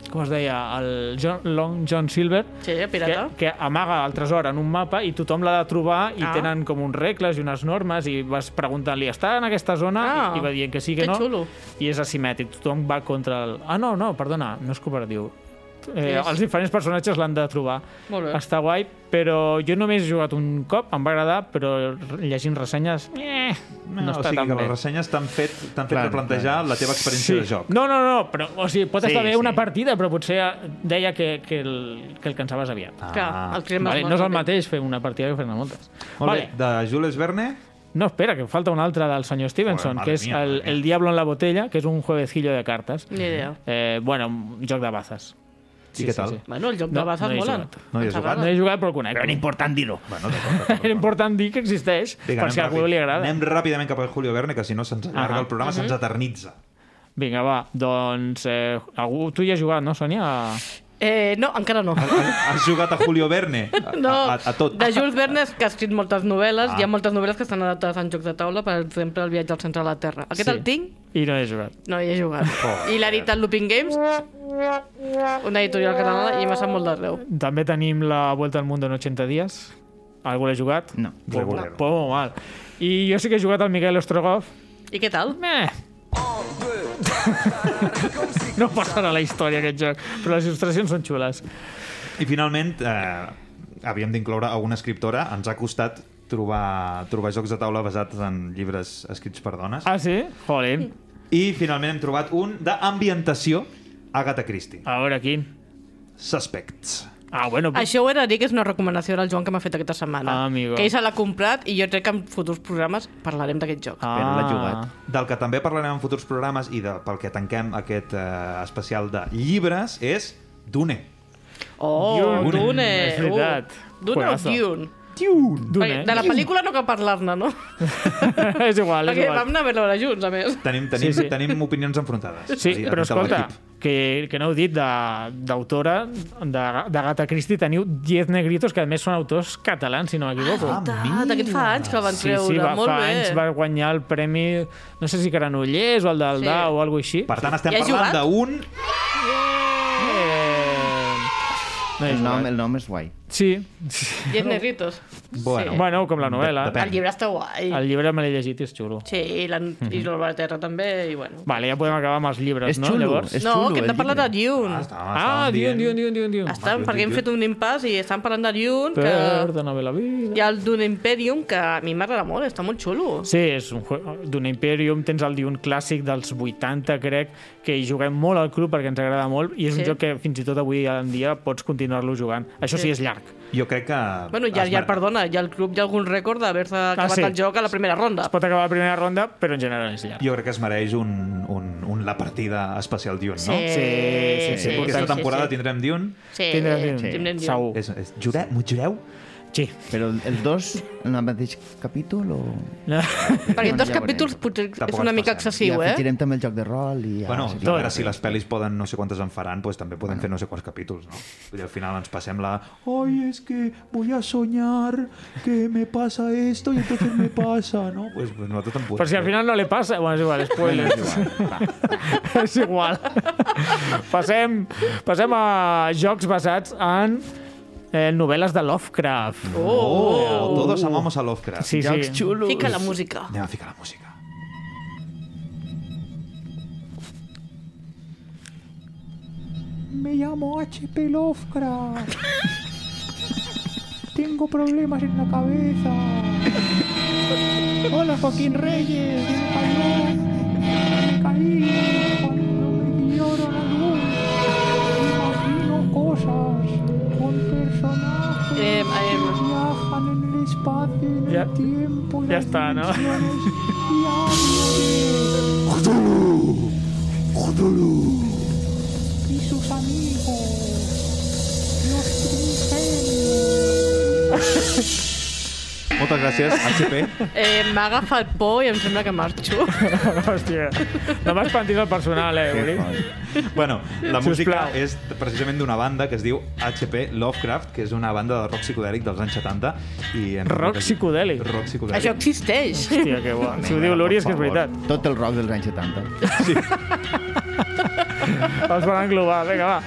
Speaker 2: com es deia? El John, Long John Silver
Speaker 3: Sí,
Speaker 2: que,
Speaker 3: eh, pirata.
Speaker 2: que amaga el tresor en un mapa i tothom l'ha de trobar i
Speaker 3: Ah.
Speaker 2: tenen com uns regles i unes normes i vas preguntant-li, està en aquesta zona?
Speaker 3: Ah,
Speaker 2: I, I va dient que sí, que
Speaker 3: que
Speaker 2: no.
Speaker 3: xulo.
Speaker 2: I és asimètric, tothom va contra el... Ah, no, no, perdona, no és cooperatiu. Eh,
Speaker 3: és?
Speaker 2: els diferents personatges l'han de trobar.
Speaker 3: Molt bé.
Speaker 2: Està guai, però jo només he jugat un cop, em va agradar, però llegint ressenyes... Eh, no,
Speaker 5: No, o
Speaker 2: està
Speaker 5: sigui
Speaker 2: tan
Speaker 5: que
Speaker 2: bé.
Speaker 5: les ressenyes t'han fet, t'han fet
Speaker 4: Clar,
Speaker 5: replantejar la teva experiència de joc.
Speaker 2: No, no, no, però o sigui, pot
Speaker 4: Sí,
Speaker 2: estar bé
Speaker 4: sí.
Speaker 2: una partida, però potser deia que, que, el, que el cansaves aviat.
Speaker 5: Ah.
Speaker 3: Clar, el crema
Speaker 2: Vale,
Speaker 3: molt
Speaker 2: no és el
Speaker 3: ràpid.
Speaker 2: mateix fer una partida que fer-ne moltes.
Speaker 5: Molt
Speaker 2: vale.
Speaker 5: bé. De Jules Verne,
Speaker 2: No, espera, que falta un altre del senyor
Speaker 5: Joder,
Speaker 2: Stevenson,
Speaker 5: madre
Speaker 2: que és
Speaker 5: mía,
Speaker 2: el,
Speaker 5: madre
Speaker 2: el Diablo en la botella, que és un juevecillo de cartes.
Speaker 3: Ni idea.
Speaker 2: Eh, bueno, un joc de bazas.
Speaker 5: I què tal?
Speaker 3: Bueno, el joc
Speaker 2: No,
Speaker 3: de bases
Speaker 2: no hi he
Speaker 3: molen.
Speaker 2: jugat.
Speaker 5: No hi he
Speaker 3: Ens
Speaker 5: jugat.
Speaker 3: agrada.
Speaker 2: No he jugat, però el conec.
Speaker 4: Però era important dir-ho.
Speaker 5: Bueno, d'acord, d'acord,
Speaker 2: Era
Speaker 5: d'acord.
Speaker 2: important dir que existeix,
Speaker 5: Vinga,
Speaker 2: per si a
Speaker 5: anem
Speaker 2: algú
Speaker 5: ràpid.
Speaker 2: li agrada.
Speaker 5: Anem ràpidament cap al Julio Verne, que si no se'ns allarga
Speaker 2: Ahà.
Speaker 5: el programa, se'ns eternitza.
Speaker 2: Vinga, va, doncs... Eh, algú, tu hi has jugat, no, Sònia? A-
Speaker 3: Eh, no, encara no.
Speaker 5: Has jugat a Julio Verne? A,
Speaker 3: No,
Speaker 5: a, a tot.
Speaker 3: de Jules Verne, que ha escrit moltes novel·les,
Speaker 5: Ah.
Speaker 3: hi ha moltes novel·les que estan adaptades en jocs de taula, per exemple, El viatge al centre de la Terra. Aquest
Speaker 2: Sí.
Speaker 3: el tinc,
Speaker 2: I no he jugat.
Speaker 3: no hi he jugat.
Speaker 5: Joder.
Speaker 3: I l'ha editat Looping Games, una editorial catalana, i m'ha sap molt de greu.
Speaker 2: També tenim la Vuelta al Mundo en 80 dies. Algú l'ha jugat?
Speaker 4: No.
Speaker 2: Pou,
Speaker 5: Regulero.
Speaker 2: pou, molt mal. I jo sí que he jugat al Miguel Ostrogov.
Speaker 3: I què tal?
Speaker 2: Eh. No passarà a la història aquest joc, però les il·lustracions són xules.
Speaker 5: I finalment, eh, havíem d'incloure a una escriptora. Ens ha costat trobar, trobar jocs de taula basats en llibres escrits per dones.
Speaker 2: Ah, sí? Jolín.
Speaker 5: I finalment hem trobat un d'ambientació, Agatha Christie.
Speaker 2: A veure, quin?
Speaker 5: Suspects.
Speaker 2: Ah, bueno, pues,
Speaker 3: Això ho he de dir que és una recomanació del Joan que m'ha fet aquesta setmana.
Speaker 2: Ah, amigo.
Speaker 3: Que ell se l'ha comprat i jo crec que en futurs programes parlarem d'aquest joc.
Speaker 2: Ah.
Speaker 4: Però l'ha jugat.
Speaker 5: Del que també parlarem en futurs programes i de, pel que tanquem aquest eh, especial de llibres és Dune.
Speaker 3: Oh,
Speaker 2: Dune.
Speaker 3: Dune!
Speaker 2: És veritat.
Speaker 3: Uh, Dune
Speaker 2: Juegazo.
Speaker 3: o Dune?
Speaker 2: Dune.
Speaker 3: Ai, de la pel·lícula no cal parlar-ne, no?
Speaker 2: eh? és igual, és
Speaker 3: Perquè vam
Speaker 2: igual.
Speaker 3: anar a veure-la junts, a més.
Speaker 5: Tenim,
Speaker 2: Sí,
Speaker 5: tenim, sí,
Speaker 2: sí.
Speaker 5: sí. tenim opinions enfrontades.
Speaker 2: Sí,
Speaker 5: Vull dir,
Speaker 2: però
Speaker 5: dins de
Speaker 2: escolta,
Speaker 5: l'equip.
Speaker 2: que, que no heu dit de- d'autora de- d'Agatha Christie, teniu 10 negritos que a més són autors catalans, si no m'equivoco.
Speaker 3: Ah, d'aquest fa anys que el van
Speaker 2: Sí,
Speaker 3: treure,
Speaker 2: sí, va,
Speaker 3: molt
Speaker 2: fa
Speaker 3: bé.
Speaker 2: anys va guanyar el premi, no sé si Granollers o el d'Aldà
Speaker 3: Sí.
Speaker 2: o alguna així.
Speaker 5: Per tant, estem
Speaker 3: Hi ha
Speaker 5: parlant
Speaker 3: jugat?
Speaker 5: d'un...
Speaker 2: Eh, No he
Speaker 4: El nom,
Speaker 2: jugat.
Speaker 4: el nom és guai.
Speaker 2: Sí. sí.
Speaker 3: I els negritos.
Speaker 5: Bueno, sí.
Speaker 2: Bueno, com la novel·la.
Speaker 5: Depèn.
Speaker 3: El llibre està guai.
Speaker 2: El Mhm. llibre me l'he llegit i és xulo.
Speaker 3: Sí, i la, i la Terra també, i bueno.
Speaker 2: Vale, ja podem acabar amb els llibres,
Speaker 4: És
Speaker 2: no?
Speaker 4: xulo,
Speaker 2: Llavors?
Speaker 4: és
Speaker 3: no,
Speaker 4: xulo,
Speaker 3: que hem
Speaker 4: el
Speaker 3: de parlar de
Speaker 4: llibre.
Speaker 3: Dune.
Speaker 2: Ah, Dion, Dion, Dion, Dion, Dion.
Speaker 3: Estan, perquè hem fet un impàs i estan parlant de Dune, que
Speaker 2: Perdona-me la vida.
Speaker 3: hi ha el Dune Imperium, que a mi m'agrada molt, està molt xulo.
Speaker 2: Sí, és un jue... d'un Imperium, tens el Dune clàssic dels 80, crec, que hi juguem molt al club perquè ens agrada molt i és sí.
Speaker 3: Sí.
Speaker 2: un joc que fins i tot avui en dia pots continuar-lo jugant. Això sí, és llarg.
Speaker 5: Jo crec que...
Speaker 3: Bueno, ja,
Speaker 5: es
Speaker 3: ja,
Speaker 5: mer-
Speaker 3: perdona, ja el club hi ha algun rècord d'haver-se acabat
Speaker 2: Ah, sí.
Speaker 3: el joc a la primera ronda.
Speaker 2: Es pot acabar la primera ronda, però en general és llarg.
Speaker 5: Jo crec que es mereix un, un, un la partida especial Dune, no? Eh,
Speaker 2: Sí, sí, sí,
Speaker 5: Aquesta
Speaker 2: sí, sí,
Speaker 5: temporada tindrem Dune.
Speaker 3: Sí,
Speaker 2: Tindrem-
Speaker 3: sí. tindrem Dune.
Speaker 2: Segur.
Speaker 5: És, és, jure, m'ho jureu?
Speaker 2: Sí.
Speaker 4: Però el- els dos en el mateix capítol o...
Speaker 2: No.
Speaker 3: Perquè
Speaker 4: Bueno,
Speaker 3: dos
Speaker 4: ja
Speaker 3: capítols
Speaker 4: veurem.
Speaker 3: potser
Speaker 5: Tampoc
Speaker 3: és una
Speaker 5: ens passem.
Speaker 3: mica
Speaker 4: I
Speaker 3: excessiu, eh?
Speaker 4: afegirem també el joc de rol i... ja
Speaker 5: Bueno,
Speaker 4: seria
Speaker 5: a
Speaker 4: guai.
Speaker 5: veure si les pel·lis poden, no sé quantes en faran, doncs també podem fer no sé quants capítols, no? Vull dir, al final ens passem la... Ay, es que voy a soñar que me pasa esto y entonces me pasa, no? Pues, pues nosaltres tampoc.
Speaker 2: Però si al final no li passa... Bueno, és igual, spoilers. és igual. passem, passem a jocs basats en eh, novel·les de Lovecraft.
Speaker 3: Oh,
Speaker 5: Oh, todos amamos a Lovecraft.
Speaker 2: Sí,
Speaker 4: Jocs
Speaker 2: sí.
Speaker 4: xulos.
Speaker 3: Fica la música.
Speaker 5: Anem a ficar la música.
Speaker 6: Me llamo H.P. Lovecraft. Tengo problemas en la cabeza. Hola Joaquín Reyes. Se me cayó. Me caí cuando me dieron la luz. Imagino cosas con personajes
Speaker 3: Eh, eh,
Speaker 6: que viajan en el espacio, en
Speaker 2: Ya-
Speaker 6: el tiempo, en
Speaker 2: ya
Speaker 6: las
Speaker 2: está, ¿no?
Speaker 6: dimensiones, y hablo de- y sus amigos, los trigenios.
Speaker 5: Moltes gràcies, HP.
Speaker 3: eh, M'ha agafat por i em sembla que marxo.
Speaker 2: Hòstia. No m'espantis el personal, eh, Uri?
Speaker 5: bueno, la
Speaker 2: Sisplau.
Speaker 5: música és precisament d'una banda que es diu HP Lovecraft, que és una banda de rock psicodèlic dels anys 70. I hem
Speaker 2: Rock psicodèlic.
Speaker 5: Rock psicodèlic.
Speaker 3: Això existeix.
Speaker 2: Hòstia, que bo. Si ho diu l'Uri és que és veritat.
Speaker 4: Tot el rock dels anys 70.
Speaker 2: Els van englobar. Vinga, va.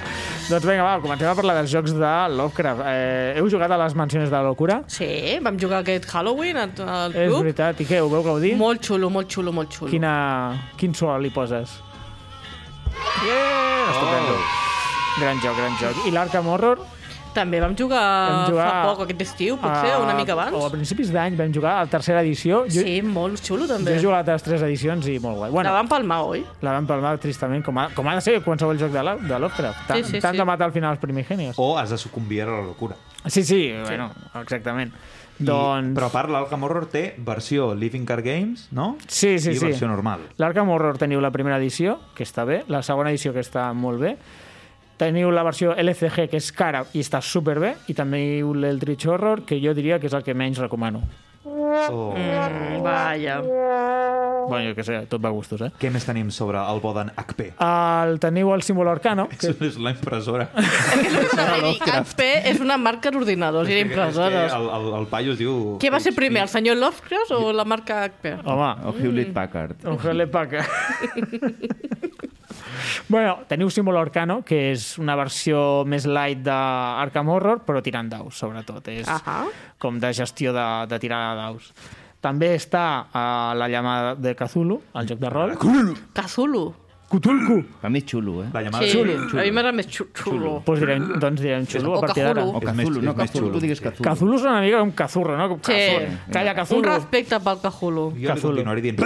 Speaker 2: Doncs vinga, va, comencem a parlar dels jocs de Lovecraft. Eh, heu jugat a les mansions de la locura?
Speaker 3: Sí, vam jugar aquest Halloween al, al
Speaker 2: És
Speaker 3: club.
Speaker 2: veritat. I què, ho veu gaudir?
Speaker 3: Molt xulo, molt xulo, molt xulo.
Speaker 2: Quina... Quin so li poses? Oh.
Speaker 5: Estupendo.
Speaker 2: Gran joc, gran joc. I l'Arkham Horror?
Speaker 3: També vam jugar,
Speaker 2: Vam jugar
Speaker 3: fa poc, aquest estiu, potser,
Speaker 2: a-
Speaker 3: o una mica abans.
Speaker 2: eh, O a principis d'any vam jugar a la tercera edició. Jo,
Speaker 3: Sí, molt xulo,
Speaker 2: jo
Speaker 3: també.
Speaker 2: he jugat a les tres edicions i molt guai.
Speaker 3: La
Speaker 2: Bueno,
Speaker 3: van palmar, oi?
Speaker 2: la van palmar tristament, com ha, com ha de ser qualsevol joc de, la, de Lovecraft. Tant,
Speaker 3: Sí, sí,
Speaker 2: tant
Speaker 3: sí.
Speaker 2: de matar al final els primigenios.
Speaker 5: O has de sucumbir a la locura.
Speaker 2: Sí, sí, bueno, exactament.
Speaker 5: I-
Speaker 2: doncs...
Speaker 5: Però a part, l'Alcam Horror té versió Living Car Games, no?
Speaker 2: Sí, sí,
Speaker 5: I
Speaker 2: sí.
Speaker 5: versió normal.
Speaker 2: L'Arkham Horror teniu la primera edició, que està bé, la segona edició, que està molt bé, teniu la versió LCG, que és cara i està superbé, i també l'Eldritch Horror, que jo diria que és el que menys recomano.
Speaker 5: O...
Speaker 3: Mm, vaja.
Speaker 2: Bueno, jo què sé, tot va a gustos, eh?
Speaker 5: Què més tenim sobre el Boden HP?
Speaker 2: El, teniu el símbol arcano, que
Speaker 5: Que... És la impressora.
Speaker 3: HP és una marca d'ordinadors i
Speaker 5: És
Speaker 3: d'impressores.
Speaker 5: que El, el, el paio es diu...
Speaker 3: Què va ser primer, el senyor Lovecraft o la marca HP?
Speaker 2: home,
Speaker 4: O Hewlett
Speaker 3: Mm.
Speaker 4: Packard.
Speaker 2: un jalepaca. eh? bueno, teniu símbol arcano, que és una versió més light d'Arkham Horror, però tirant daus, sobretot. És,
Speaker 3: Ahà.
Speaker 2: com de gestió de, de tirada de daus. eh,
Speaker 5: Ah,
Speaker 2: També està a la llama de Cthulhu, el joc de rol.
Speaker 3: Cthulhu.
Speaker 2: Cthulhu.
Speaker 4: Per mi és xulo, eh?
Speaker 5: La llamada
Speaker 3: Sí,
Speaker 5: Cthulhu.
Speaker 3: a mi m'agrada més xulo. xulo.
Speaker 2: Pues direm, doncs direm xulo
Speaker 3: O
Speaker 2: a partir d'ara.
Speaker 3: Cthulhu.
Speaker 4: O
Speaker 5: És
Speaker 4: Cazulu,
Speaker 5: més-
Speaker 4: no
Speaker 5: és més
Speaker 4: Cazulu,
Speaker 5: xulo,
Speaker 4: tu digues
Speaker 5: sí.
Speaker 4: Cazulu.
Speaker 2: Cazulu és una mica un cazurro, no?
Speaker 3: Sí.
Speaker 2: Cazurro. Calla,
Speaker 3: Un
Speaker 2: Cazurro.
Speaker 3: respecte pel cajulo.
Speaker 5: Jo li
Speaker 2: Cthulhu.
Speaker 5: continuaré dient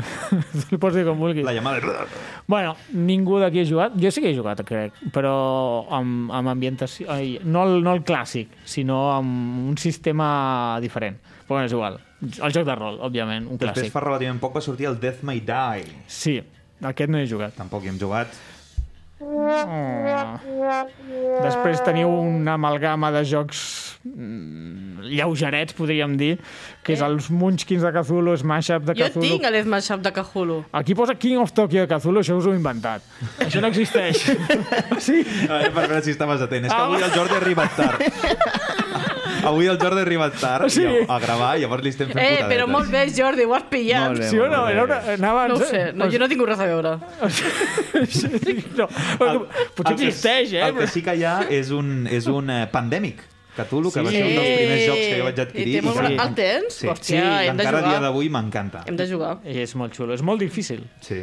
Speaker 2: Li pots dir com vulguis.
Speaker 5: la llamada de...
Speaker 2: Bueno, ningú d'aquí ha jugat. Jo sí que he jugat, crec, però amb, amb ambientació... Ai, no, el, no el clàssic, sinó amb un sistema diferent. Però bueno, és igual. El joc de rol, òbviament, un
Speaker 5: Després
Speaker 2: clàssic.
Speaker 5: fa relativament poc va sortir el Death May Die. Doncs
Speaker 2: Sí, aquest no he jugat.
Speaker 5: Tampoc hi hem jugat.
Speaker 2: Després teniu una amalgama de jocs mm, lleugerets, podríem dir, que és els Munchkins de Cthulhu, Smash-Up de
Speaker 3: Eh? Jo
Speaker 2: Cthulhu...
Speaker 3: tinc el Smash Up de cajulo.
Speaker 2: Aquí posa King of Tokyo de Cthulhu, això us ho he inventat. Això no existeix. sí?
Speaker 5: A veure, per veure si estaves atent. És que avui el Jordi ha arribat tard. Avui el Jordi ha arribat tard
Speaker 2: Sí.
Speaker 5: sí. a gravar i llavors li estem fent
Speaker 3: Eh,
Speaker 5: putadetes.
Speaker 3: però molt bé, Jordi, ho has pillat.
Speaker 4: Molt bé,
Speaker 2: Sí o no? Era una, anava
Speaker 3: No ho
Speaker 2: antes-
Speaker 3: sé, no, jo no tinc res a veure.
Speaker 2: no. Potser
Speaker 5: El que-
Speaker 2: existeix, eh?
Speaker 5: El que sí que hi ha és un, és un eh, pandèmic. Cthulhu, que va
Speaker 2: Sí.
Speaker 5: ser un dels primers
Speaker 3: Eh,
Speaker 5: jocs que jo vaig
Speaker 3: i
Speaker 5: adquirir.
Speaker 3: té molt
Speaker 5: que-
Speaker 3: bona- el tens?
Speaker 5: Sí, sí
Speaker 3: Hòstia, hem de
Speaker 5: encara a
Speaker 3: jugar.
Speaker 5: dia d'avui m'encanta.
Speaker 3: Hem de jugar.
Speaker 2: És molt xulo, és molt difícil.
Speaker 5: Sí.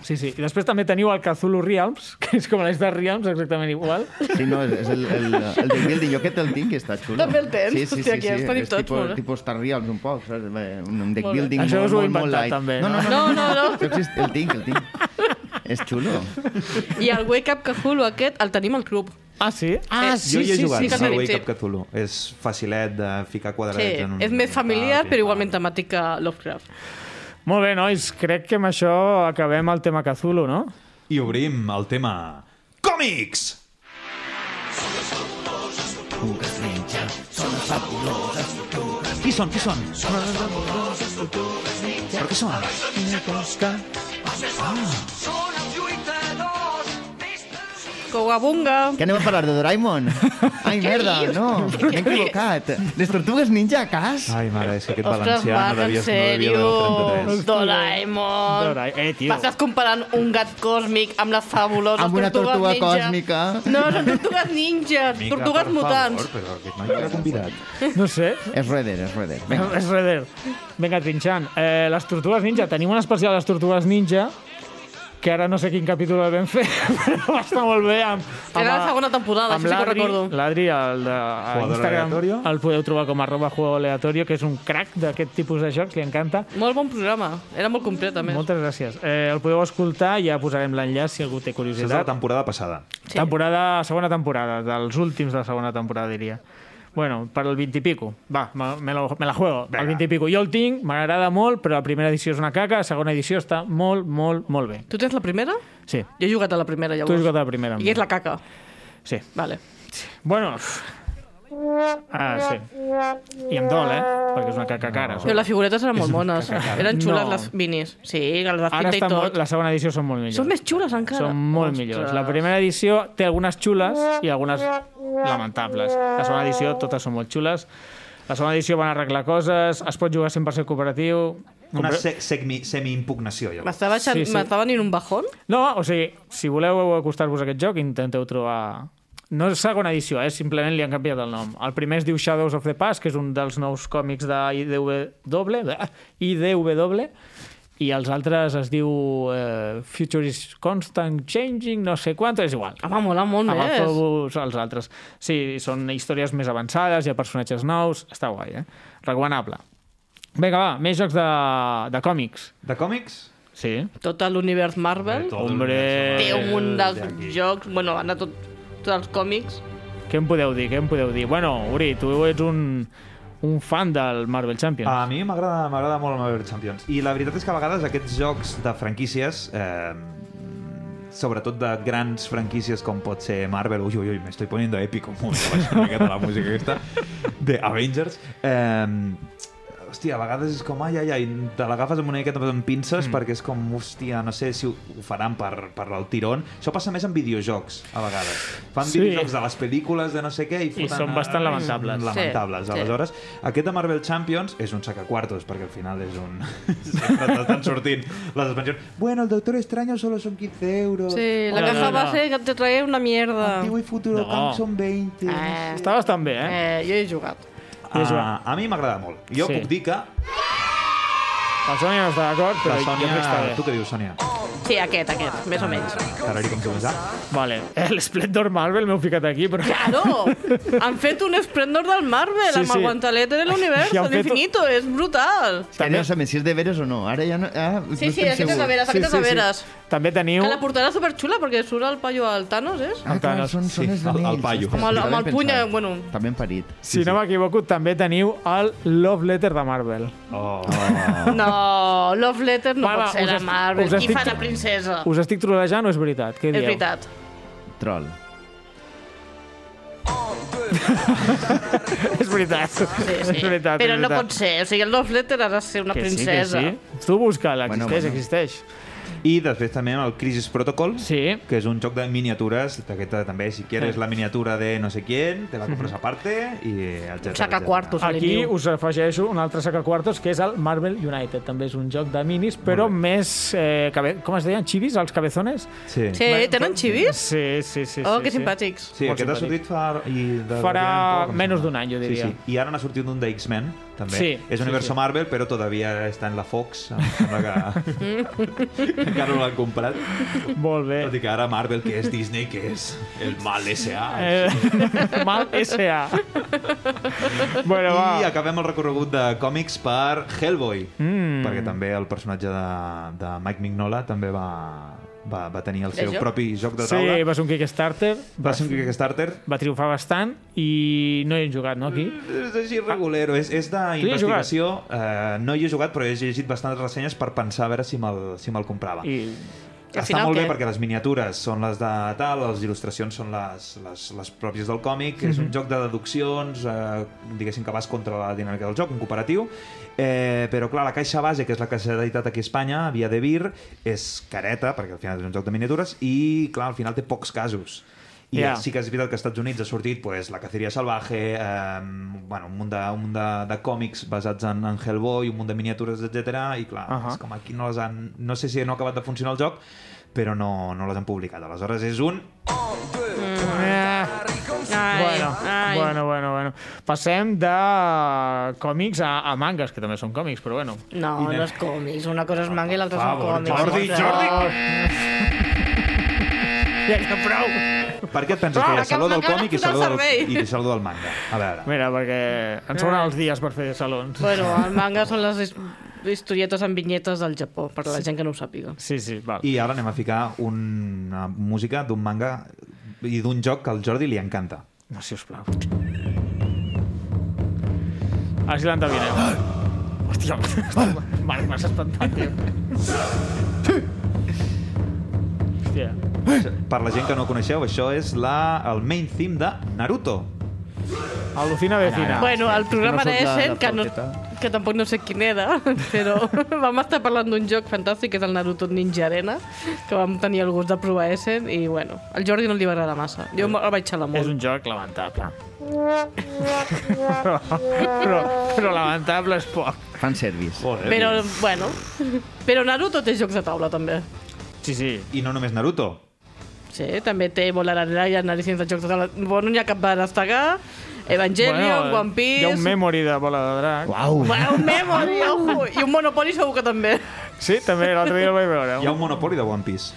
Speaker 2: Sí, sí. I després també teniu el Cthulhu Realms, que és com l'eix de Realms, exactament igual.
Speaker 4: Sí, no, és, és el, el, el del building. Jo aquest el tinc i està xulo.
Speaker 3: També el tens? Hòstia, aquí els tenim
Speaker 4: és
Speaker 3: tots,
Speaker 4: tipus,
Speaker 3: molt bé.
Speaker 4: tipus Star Realms un poc, saps? Bé, Un, un deck
Speaker 3: Molt bé.
Speaker 4: building
Speaker 2: Això us ho
Speaker 4: molt,
Speaker 2: he
Speaker 4: molt, molt
Speaker 2: inventat,
Speaker 4: light.
Speaker 2: també,
Speaker 4: no,
Speaker 2: no?
Speaker 4: no, no.
Speaker 3: No, no, no.
Speaker 4: Això exist- El tinc, el tinc. És xulo.
Speaker 3: I el Wake Up Cajulo aquest el tenim al club.
Speaker 2: Ah, sí? Ah,
Speaker 3: Eh,
Speaker 2: sí,
Speaker 5: jo hi he
Speaker 2: sí,
Speaker 5: jugat,
Speaker 2: sí,
Speaker 3: que
Speaker 5: no
Speaker 3: sí.
Speaker 5: Wake Up Cthulhu. És facilet de ficar
Speaker 3: Sí,
Speaker 5: quadradets en un...
Speaker 3: és més familiar,
Speaker 5: Ah,
Speaker 3: però
Speaker 5: sí.
Speaker 3: igualment temàtica Lovecraft.
Speaker 2: Molt bé, nois, crec que amb això acabem el tema Cthulhu, no?
Speaker 5: I obrim el tema... Còmics! Qui són? Qui són? Però què són?
Speaker 3: Cowabunga!
Speaker 4: Que anem a parlar de Doraemon? Ai, merda, no. M'he equivocat. Les tortugues ninja, cas?
Speaker 5: Ai, mare, és que aquest
Speaker 3: Ostres,
Speaker 5: valencià
Speaker 3: Marc,
Speaker 5: no devia, no
Speaker 3: en
Speaker 5: devia
Speaker 3: sèrio!
Speaker 5: del 33.
Speaker 3: Doraemon!
Speaker 2: Dora- Eh, tio.
Speaker 3: M'estàs comparant un gat còsmic amb les fabuloses
Speaker 4: Amb una tortuga
Speaker 3: tortugues ninja.
Speaker 4: còsmica.
Speaker 3: No, són tortugues ninjas,
Speaker 5: Mica,
Speaker 3: tortugues
Speaker 5: per
Speaker 3: mutants.
Speaker 5: Favor, però aquest noi era convidat.
Speaker 2: No sé.
Speaker 4: És Redder, és Redder. Vinga.
Speaker 2: És Redder. Vinga, trinxant. Eh, les Tortugues Ninja. Tenim un especial de les Tortugues Ninja, que ara no sé quin capítol el vam fer, però va estar molt bé. Amb, amb,
Speaker 3: Era la
Speaker 2: a-
Speaker 3: segona temporada,
Speaker 2: amb
Speaker 3: això sí que ho
Speaker 2: l'Adri-
Speaker 3: recordo.
Speaker 2: L'Adri, el de a
Speaker 5: Jugador
Speaker 2: Instagram,
Speaker 5: aleatorio.
Speaker 2: el podeu trobar com arroba juego aleatorio, que és un crack d'aquest tipus de jocs, li encanta.
Speaker 3: Molt bon programa, era molt complet, a més.
Speaker 2: Moltes gràcies. Eh, el podeu escoltar, ja posarem l'enllaç si algú té
Speaker 5: Això és de la
Speaker 2: curiositat.
Speaker 5: temporada passada.
Speaker 3: Sí.
Speaker 2: Temporada, segona temporada, dels últims de la segona temporada, diria. Bueno, per el 20 i pico. Va, me, me, lo, me la juego. Venga. El 20 i pico. Jo el tinc, m'agrada molt, però la primera edició és una caca, la segona edició està molt, molt, molt bé.
Speaker 3: Tu tens la primera?
Speaker 2: Sí.
Speaker 3: Jo he jugat a la primera,
Speaker 2: Tu
Speaker 3: llavors.
Speaker 2: has jugat a la primera. amb
Speaker 3: I és
Speaker 2: mi.
Speaker 3: la caca.
Speaker 2: Sí.
Speaker 3: Vale.
Speaker 2: Bueno... Ah, sí. I em dol, eh? Perquè és una caca cara.
Speaker 5: Oh.
Speaker 3: Però les figuretes eren molt mones. Eren xules
Speaker 2: No.
Speaker 3: les minis. Sí, que les
Speaker 2: Ara
Speaker 3: pinta i
Speaker 2: està
Speaker 3: tot.
Speaker 2: molt, la segona edició són molt millors.
Speaker 3: Són més xules encara.
Speaker 2: Són molt
Speaker 3: Ostres.
Speaker 2: millors. La primera edició té algunes xules i algunes lamentables. La segona edició totes són molt xules. La segona edició van arreglar coses, es pot jugar 100% cooperatiu...
Speaker 5: Una se semi- semi-impugnació, jo.
Speaker 3: M'estava baixant...
Speaker 2: Sí, sí.
Speaker 3: m'estava venint un bajón?
Speaker 2: No, o sigui, si voleu acostar-vos a aquest joc, intenteu trobar... No és segona edició, eh? simplement li han canviat el nom. El primer es diu Shadows of the Past, que és un dels nous còmics de IDW, de eh, IDW i els altres es diu eh, Future is Constant Changing, no sé quant, és igual.
Speaker 3: Home, mola molt més.
Speaker 2: Agafeu-vos els altres. Sí, són històries més avançades, hi ha personatges nous, està guai, eh? Recomanable. Vinga, va, més jocs de, de còmics.
Speaker 5: De còmics?
Speaker 2: Sí.
Speaker 3: Tot l'univers Marvel.
Speaker 2: Hombre.
Speaker 3: Té
Speaker 5: eh,
Speaker 2: Eh,
Speaker 3: un munt de
Speaker 5: d'aquí.
Speaker 3: jocs. Bueno, van a tot, tots els còmics.
Speaker 2: Què em podeu dir? Què em podeu dir? Bueno, Uri, tu ets un, un fan del Marvel Champions.
Speaker 5: A Ah, mi m'agrada m'agrada molt Marvel Champions. I la veritat és que a vegades aquests jocs de franquícies, eh, sobretot de grans franquícies com pot ser Marvel, ui, ui, ui, me estoy poniendo épico, molt, baixa una miqueta la música aquesta, de Avengers, eh, hòstia, a vegades és com, ai, ai, ai, te l'agafes amb una miqueta amb pinces mm. perquè és com, hòstia, no sé si ho, ho faran per, per el tirón. Això passa més en videojocs, a vegades. Fan
Speaker 2: Sí.
Speaker 5: sí. videojocs de les pel·lícules, de no sé què, i foten... eh,
Speaker 2: són bastant lamentables.
Speaker 5: Lamentables.
Speaker 3: Sí, sí.
Speaker 5: Aleshores, Aleshores, aquest de Marvel Champions és un sacacuartos, perquè al final és un... Sempre t'estan sortint les expansions. Bueno, el Doctor Extraño solo son 15 euros.
Speaker 3: Sí, la
Speaker 2: Hola,
Speaker 3: caja
Speaker 2: hola.
Speaker 3: base que te trae una mierda.
Speaker 5: Antiguo y Futuro
Speaker 2: No.
Speaker 5: Camp son 20.
Speaker 3: Eh,
Speaker 2: Està bastant bé, eh?
Speaker 3: eh, jo he jugat.
Speaker 2: I és
Speaker 5: Ah, a mi m'agrada molt. Jo
Speaker 2: Sí.
Speaker 5: sí. puc dir que
Speaker 2: La Sònia no està d'acord,
Speaker 5: la
Speaker 2: però jo crec que
Speaker 5: Sònia...
Speaker 2: està
Speaker 5: Tu
Speaker 2: bé.
Speaker 5: què dius, Sònia?
Speaker 3: Sí, aquest, aquest, més o menys.
Speaker 5: Tarari com tu vas.
Speaker 2: Vale. El Splendor Marvel m'heu ficat aquí, però...
Speaker 3: Claro, han fet un esplendor del Marvel
Speaker 2: Sí,
Speaker 3: amb el
Speaker 2: sí.
Speaker 3: guantelete de
Speaker 2: I
Speaker 3: l'univers,
Speaker 2: han
Speaker 3: de
Speaker 2: fet-
Speaker 3: l'infinito, és brutal.
Speaker 4: També... no sabem si és de veres o no. Ara ja no... Ah, no
Speaker 3: Sí, sí,
Speaker 4: estem
Speaker 3: ha fet
Speaker 4: segurs.
Speaker 3: a veres, ha
Speaker 2: Sí,
Speaker 3: fet
Speaker 2: sí,
Speaker 3: a
Speaker 2: sí.
Speaker 3: veres.
Speaker 2: També teniu...
Speaker 3: Que la portarà superxula perquè surt el paio al Thanos, és?
Speaker 4: Ah, clar, són, són
Speaker 5: Sí,
Speaker 4: els
Speaker 5: el- el
Speaker 4: anells.
Speaker 5: paio.
Speaker 4: Ostres,
Speaker 3: Amb el-
Speaker 4: sí,
Speaker 3: amb el
Speaker 4: l'havia
Speaker 3: puny,
Speaker 4: pensat.
Speaker 3: eh, bueno.
Speaker 4: També hem parit.
Speaker 2: Si no m'equivoco, també teniu el Love Letter de Marvel.
Speaker 5: Oh.
Speaker 3: No, Love Letter no
Speaker 2: Va, va,
Speaker 3: pot ser
Speaker 2: us
Speaker 3: de
Speaker 2: estic-
Speaker 3: Marvel.
Speaker 2: us
Speaker 3: Qui
Speaker 2: estic-
Speaker 3: fa la princesa?
Speaker 2: Us estic trolejant o és veritat? Què
Speaker 3: Ah. És
Speaker 2: dieu?
Speaker 3: veritat.
Speaker 4: Troll.
Speaker 2: És veritat.
Speaker 3: Sí, sí.
Speaker 2: És veritat.
Speaker 3: Però
Speaker 2: és
Speaker 3: no
Speaker 2: veritat.
Speaker 3: pot ser. O sigui, el Love Letter ha de ser una
Speaker 2: Que sí, que
Speaker 3: princesa.
Speaker 2: sí. Tu busca-la,
Speaker 4: Bueno,
Speaker 2: existeix,
Speaker 4: bueno.
Speaker 2: existeix.
Speaker 5: I després també amb el Crisis Protocol,
Speaker 2: Sí.
Speaker 5: que és un joc de miniatures, d'aquesta també, si quieres la miniatura de no sé quién, te la compres aparte i etcètera.
Speaker 3: Saca
Speaker 5: etcètera.
Speaker 3: quartos. Soleniu.
Speaker 2: Aquí us afegeixo un altre sacaquartos, que és el Marvel United. També és un joc de minis, però més... Eh, cabe... Com es deien? Chivis? Els cabezones?
Speaker 5: Sí.
Speaker 3: Sí, Eh, tenen xivis?
Speaker 2: Sí, sí, sí.
Speaker 3: Oh,
Speaker 2: sí,
Speaker 3: que
Speaker 2: sí.
Speaker 3: simpàtics.
Speaker 5: Sí,
Speaker 2: Molt
Speaker 5: aquest ha
Speaker 2: simpàtic.
Speaker 5: sortit fa... I de,
Speaker 2: Farà
Speaker 5: de-
Speaker 2: menys d'un any, jo diria.
Speaker 5: Sí, sí. I ara n'ha sortit un de X-Men, també.
Speaker 2: Sí,
Speaker 5: és
Speaker 2: sí,
Speaker 5: Universo
Speaker 2: sí.
Speaker 5: Marvel, però todavía està en la Fox. Em sembla que encara no l'han comprat.
Speaker 2: Eh. Molt bé.
Speaker 5: Tot i que ara Marvel, que és Disney, que és el mal S.A.
Speaker 2: Eh, mal S.A. bueno,
Speaker 5: I
Speaker 2: va.
Speaker 5: acabem el recorregut de còmics per Hellboy,
Speaker 2: Mm.
Speaker 5: perquè també el personatge de, de Mike Mignola també va, va, va tenir el seu
Speaker 3: Legió?
Speaker 5: propi joc de taula.
Speaker 2: Sí, va ser un Kickstarter,
Speaker 5: Va ser un Kickstarter.
Speaker 2: va triomfar bastant i no hi hem jugat, no, aquí?
Speaker 5: És així regulero, és, és d'investigació. Eh, no hi he jugat, però he llegit bastantes ressenyes per pensar a veure si me'l si me comprava.
Speaker 2: I
Speaker 3: Al
Speaker 5: Està
Speaker 3: final,
Speaker 5: molt bé
Speaker 3: què?
Speaker 5: perquè les miniatures són les de tal, les il·lustracions són les, les, les pròpies del còmic, és
Speaker 3: Mhm.
Speaker 5: un joc de deduccions, eh, diguéssim que vas contra la dinàmica del joc, un cooperatiu, eh, però clar, la caixa base, que és la caixa d'editat aquí a Espanya, via de Vir, és careta, perquè al final és un joc de miniatures, i clar, al final té pocs casos. I
Speaker 2: Ja.
Speaker 5: yeah. sí que és veritat que als Estats Units ha sortit pues, La caceria salvaje, eh, bueno, un munt de, un munt de, de còmics basats en, en Hellboy, un munt de miniatures, etc. I clar,
Speaker 2: Ahà.
Speaker 5: és com aquí no les han... No sé si no ha acabat de funcionar el joc, però no, no les han publicat. Aleshores és un...
Speaker 2: Eh,
Speaker 3: Ai,
Speaker 2: bueno,
Speaker 3: ai.
Speaker 2: bueno, bueno, bueno. Passem de còmics a, a mangas, que també són còmics, però bueno.
Speaker 3: No, no és còmics. Una cosa és manga i l'altra són
Speaker 5: favor,
Speaker 3: còmics.
Speaker 5: Jordi,
Speaker 3: Però-
Speaker 5: Jordi!
Speaker 2: Ja que prou!
Speaker 5: Per què et penses que hi
Speaker 3: Ah,
Speaker 5: ha saló
Speaker 3: que
Speaker 5: del
Speaker 3: m'acabes
Speaker 5: còmic i
Speaker 3: de posar
Speaker 5: saló
Speaker 3: el
Speaker 5: del,
Speaker 3: servei.
Speaker 5: i saló del manga? A veure,
Speaker 2: Mira, perquè ens sobren els dies per fer salons.
Speaker 3: Bueno, el manga són les his- historietes amb vinyetes del Japó, per la gent que no ho sàpiga.
Speaker 2: Sí, Ah, sí, val.
Speaker 5: i ara anem a ficar una música d'un manga i d'un joc que al Jordi li encanta.
Speaker 2: No, sisplau. Així l'endevineu. Hòstia, Marc, m'has espantat, tio. Hòstia.
Speaker 5: Per la gent que no ho coneixeu, això és la, el main theme de Naruto.
Speaker 2: Al·lucina vecina.
Speaker 3: Bueno, el programa
Speaker 4: no
Speaker 3: no
Speaker 4: sóc la-
Speaker 3: d'Essen,
Speaker 4: la
Speaker 3: que, no,
Speaker 4: flauteta.
Speaker 3: que tampoc no sé quin era, però vam estar parlant d'un joc fantàstic, que és el Naruto Ninja Arena, que vam tenir el gust de provar a Essen, i bueno, al Jordi no li va agradar massa. Jo el vaig xalar
Speaker 2: És
Speaker 3: molt.
Speaker 2: un joc lamentable. però, però, però lamentable és poc.
Speaker 4: Fan service.
Speaker 3: Però, bueno, però Naruto té jocs de taula, també.
Speaker 2: Sí, sí.
Speaker 5: I no només Naruto.
Speaker 3: Sí, també té Volar Arena i Anàlisis de jocs de taula. Bueno, n'hi ha cap de destacar, Evangelion, One
Speaker 2: Hi
Speaker 3: Piece...
Speaker 2: ha un memory de bola de drac.
Speaker 4: Uau!
Speaker 3: Bueno, un Memory, ojo! I un Monopoly segur que també.
Speaker 2: Sí, també l'altre dia el vaig veure.
Speaker 5: Hi ha un monopoli de One Piece.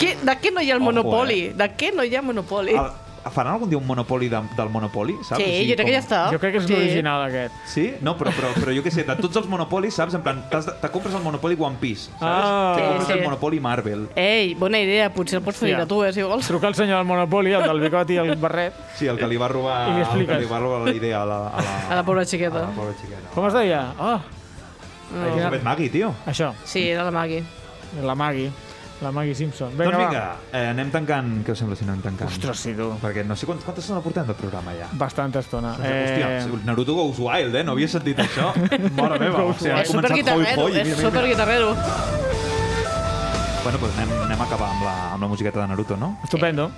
Speaker 3: Què, de què no hi ha el
Speaker 5: Ojo,
Speaker 3: Monopoly? De què no hi ha Monopoly?
Speaker 5: El, faran algun dia un monopoli de, del monopoli, saps?
Speaker 3: Eh. sí,
Speaker 5: O sigui,
Speaker 3: jo crec que ja
Speaker 5: com-
Speaker 3: està.
Speaker 2: Jo crec que és
Speaker 3: sí.
Speaker 2: l'original, aquest.
Speaker 5: Sí? No, però, però, però jo què sé, de tots els monopolis, saps? En plan, t'has de- te compres el monopoli One Piece, saps?
Speaker 2: Ah.
Speaker 5: Te
Speaker 3: Sí,
Speaker 5: compres
Speaker 3: sí.
Speaker 5: el monopoli Marvel.
Speaker 3: Ei, bona idea, potser el pots tenir
Speaker 2: Hòstia.
Speaker 3: a tu, eh, si vols.
Speaker 2: Truca el senyor del Monopoli, el del bigoti i el barret.
Speaker 5: Sí, el que li va robar,
Speaker 2: I li
Speaker 5: el que
Speaker 2: expliques.
Speaker 5: li va robar la idea a la, a la,
Speaker 3: A la pobra
Speaker 5: a
Speaker 3: xiqueta.
Speaker 5: la pobra xiqueta.
Speaker 2: Com es deia? Oh,
Speaker 5: Elizabeth Maggie, tio.
Speaker 2: això,
Speaker 3: Sí, era la Maggie.
Speaker 2: la Maggie. La Maggie Simpson.
Speaker 5: Vinga,
Speaker 2: Vinga,
Speaker 5: doncs vinga, eh, anem tancant. Què us sembla si anem tancant?
Speaker 2: va. Ostres, sí, tu.
Speaker 5: Perquè no sé quant, quanta estona portem de programa ja.
Speaker 2: Bastanta estona.
Speaker 5: Eh... Hòstia, Naruto Goes Wild, eh? No havia sentit això. Mare meva. O sigui, ha
Speaker 3: és
Speaker 5: començat
Speaker 3: superguitarrero,
Speaker 5: hoi, hoi,
Speaker 3: és
Speaker 5: mira, mira.
Speaker 3: superguitarrero.
Speaker 5: Bueno, doncs anem, anem a acabar amb la, amb la musiqueta de Naruto, no?
Speaker 2: Estupendo.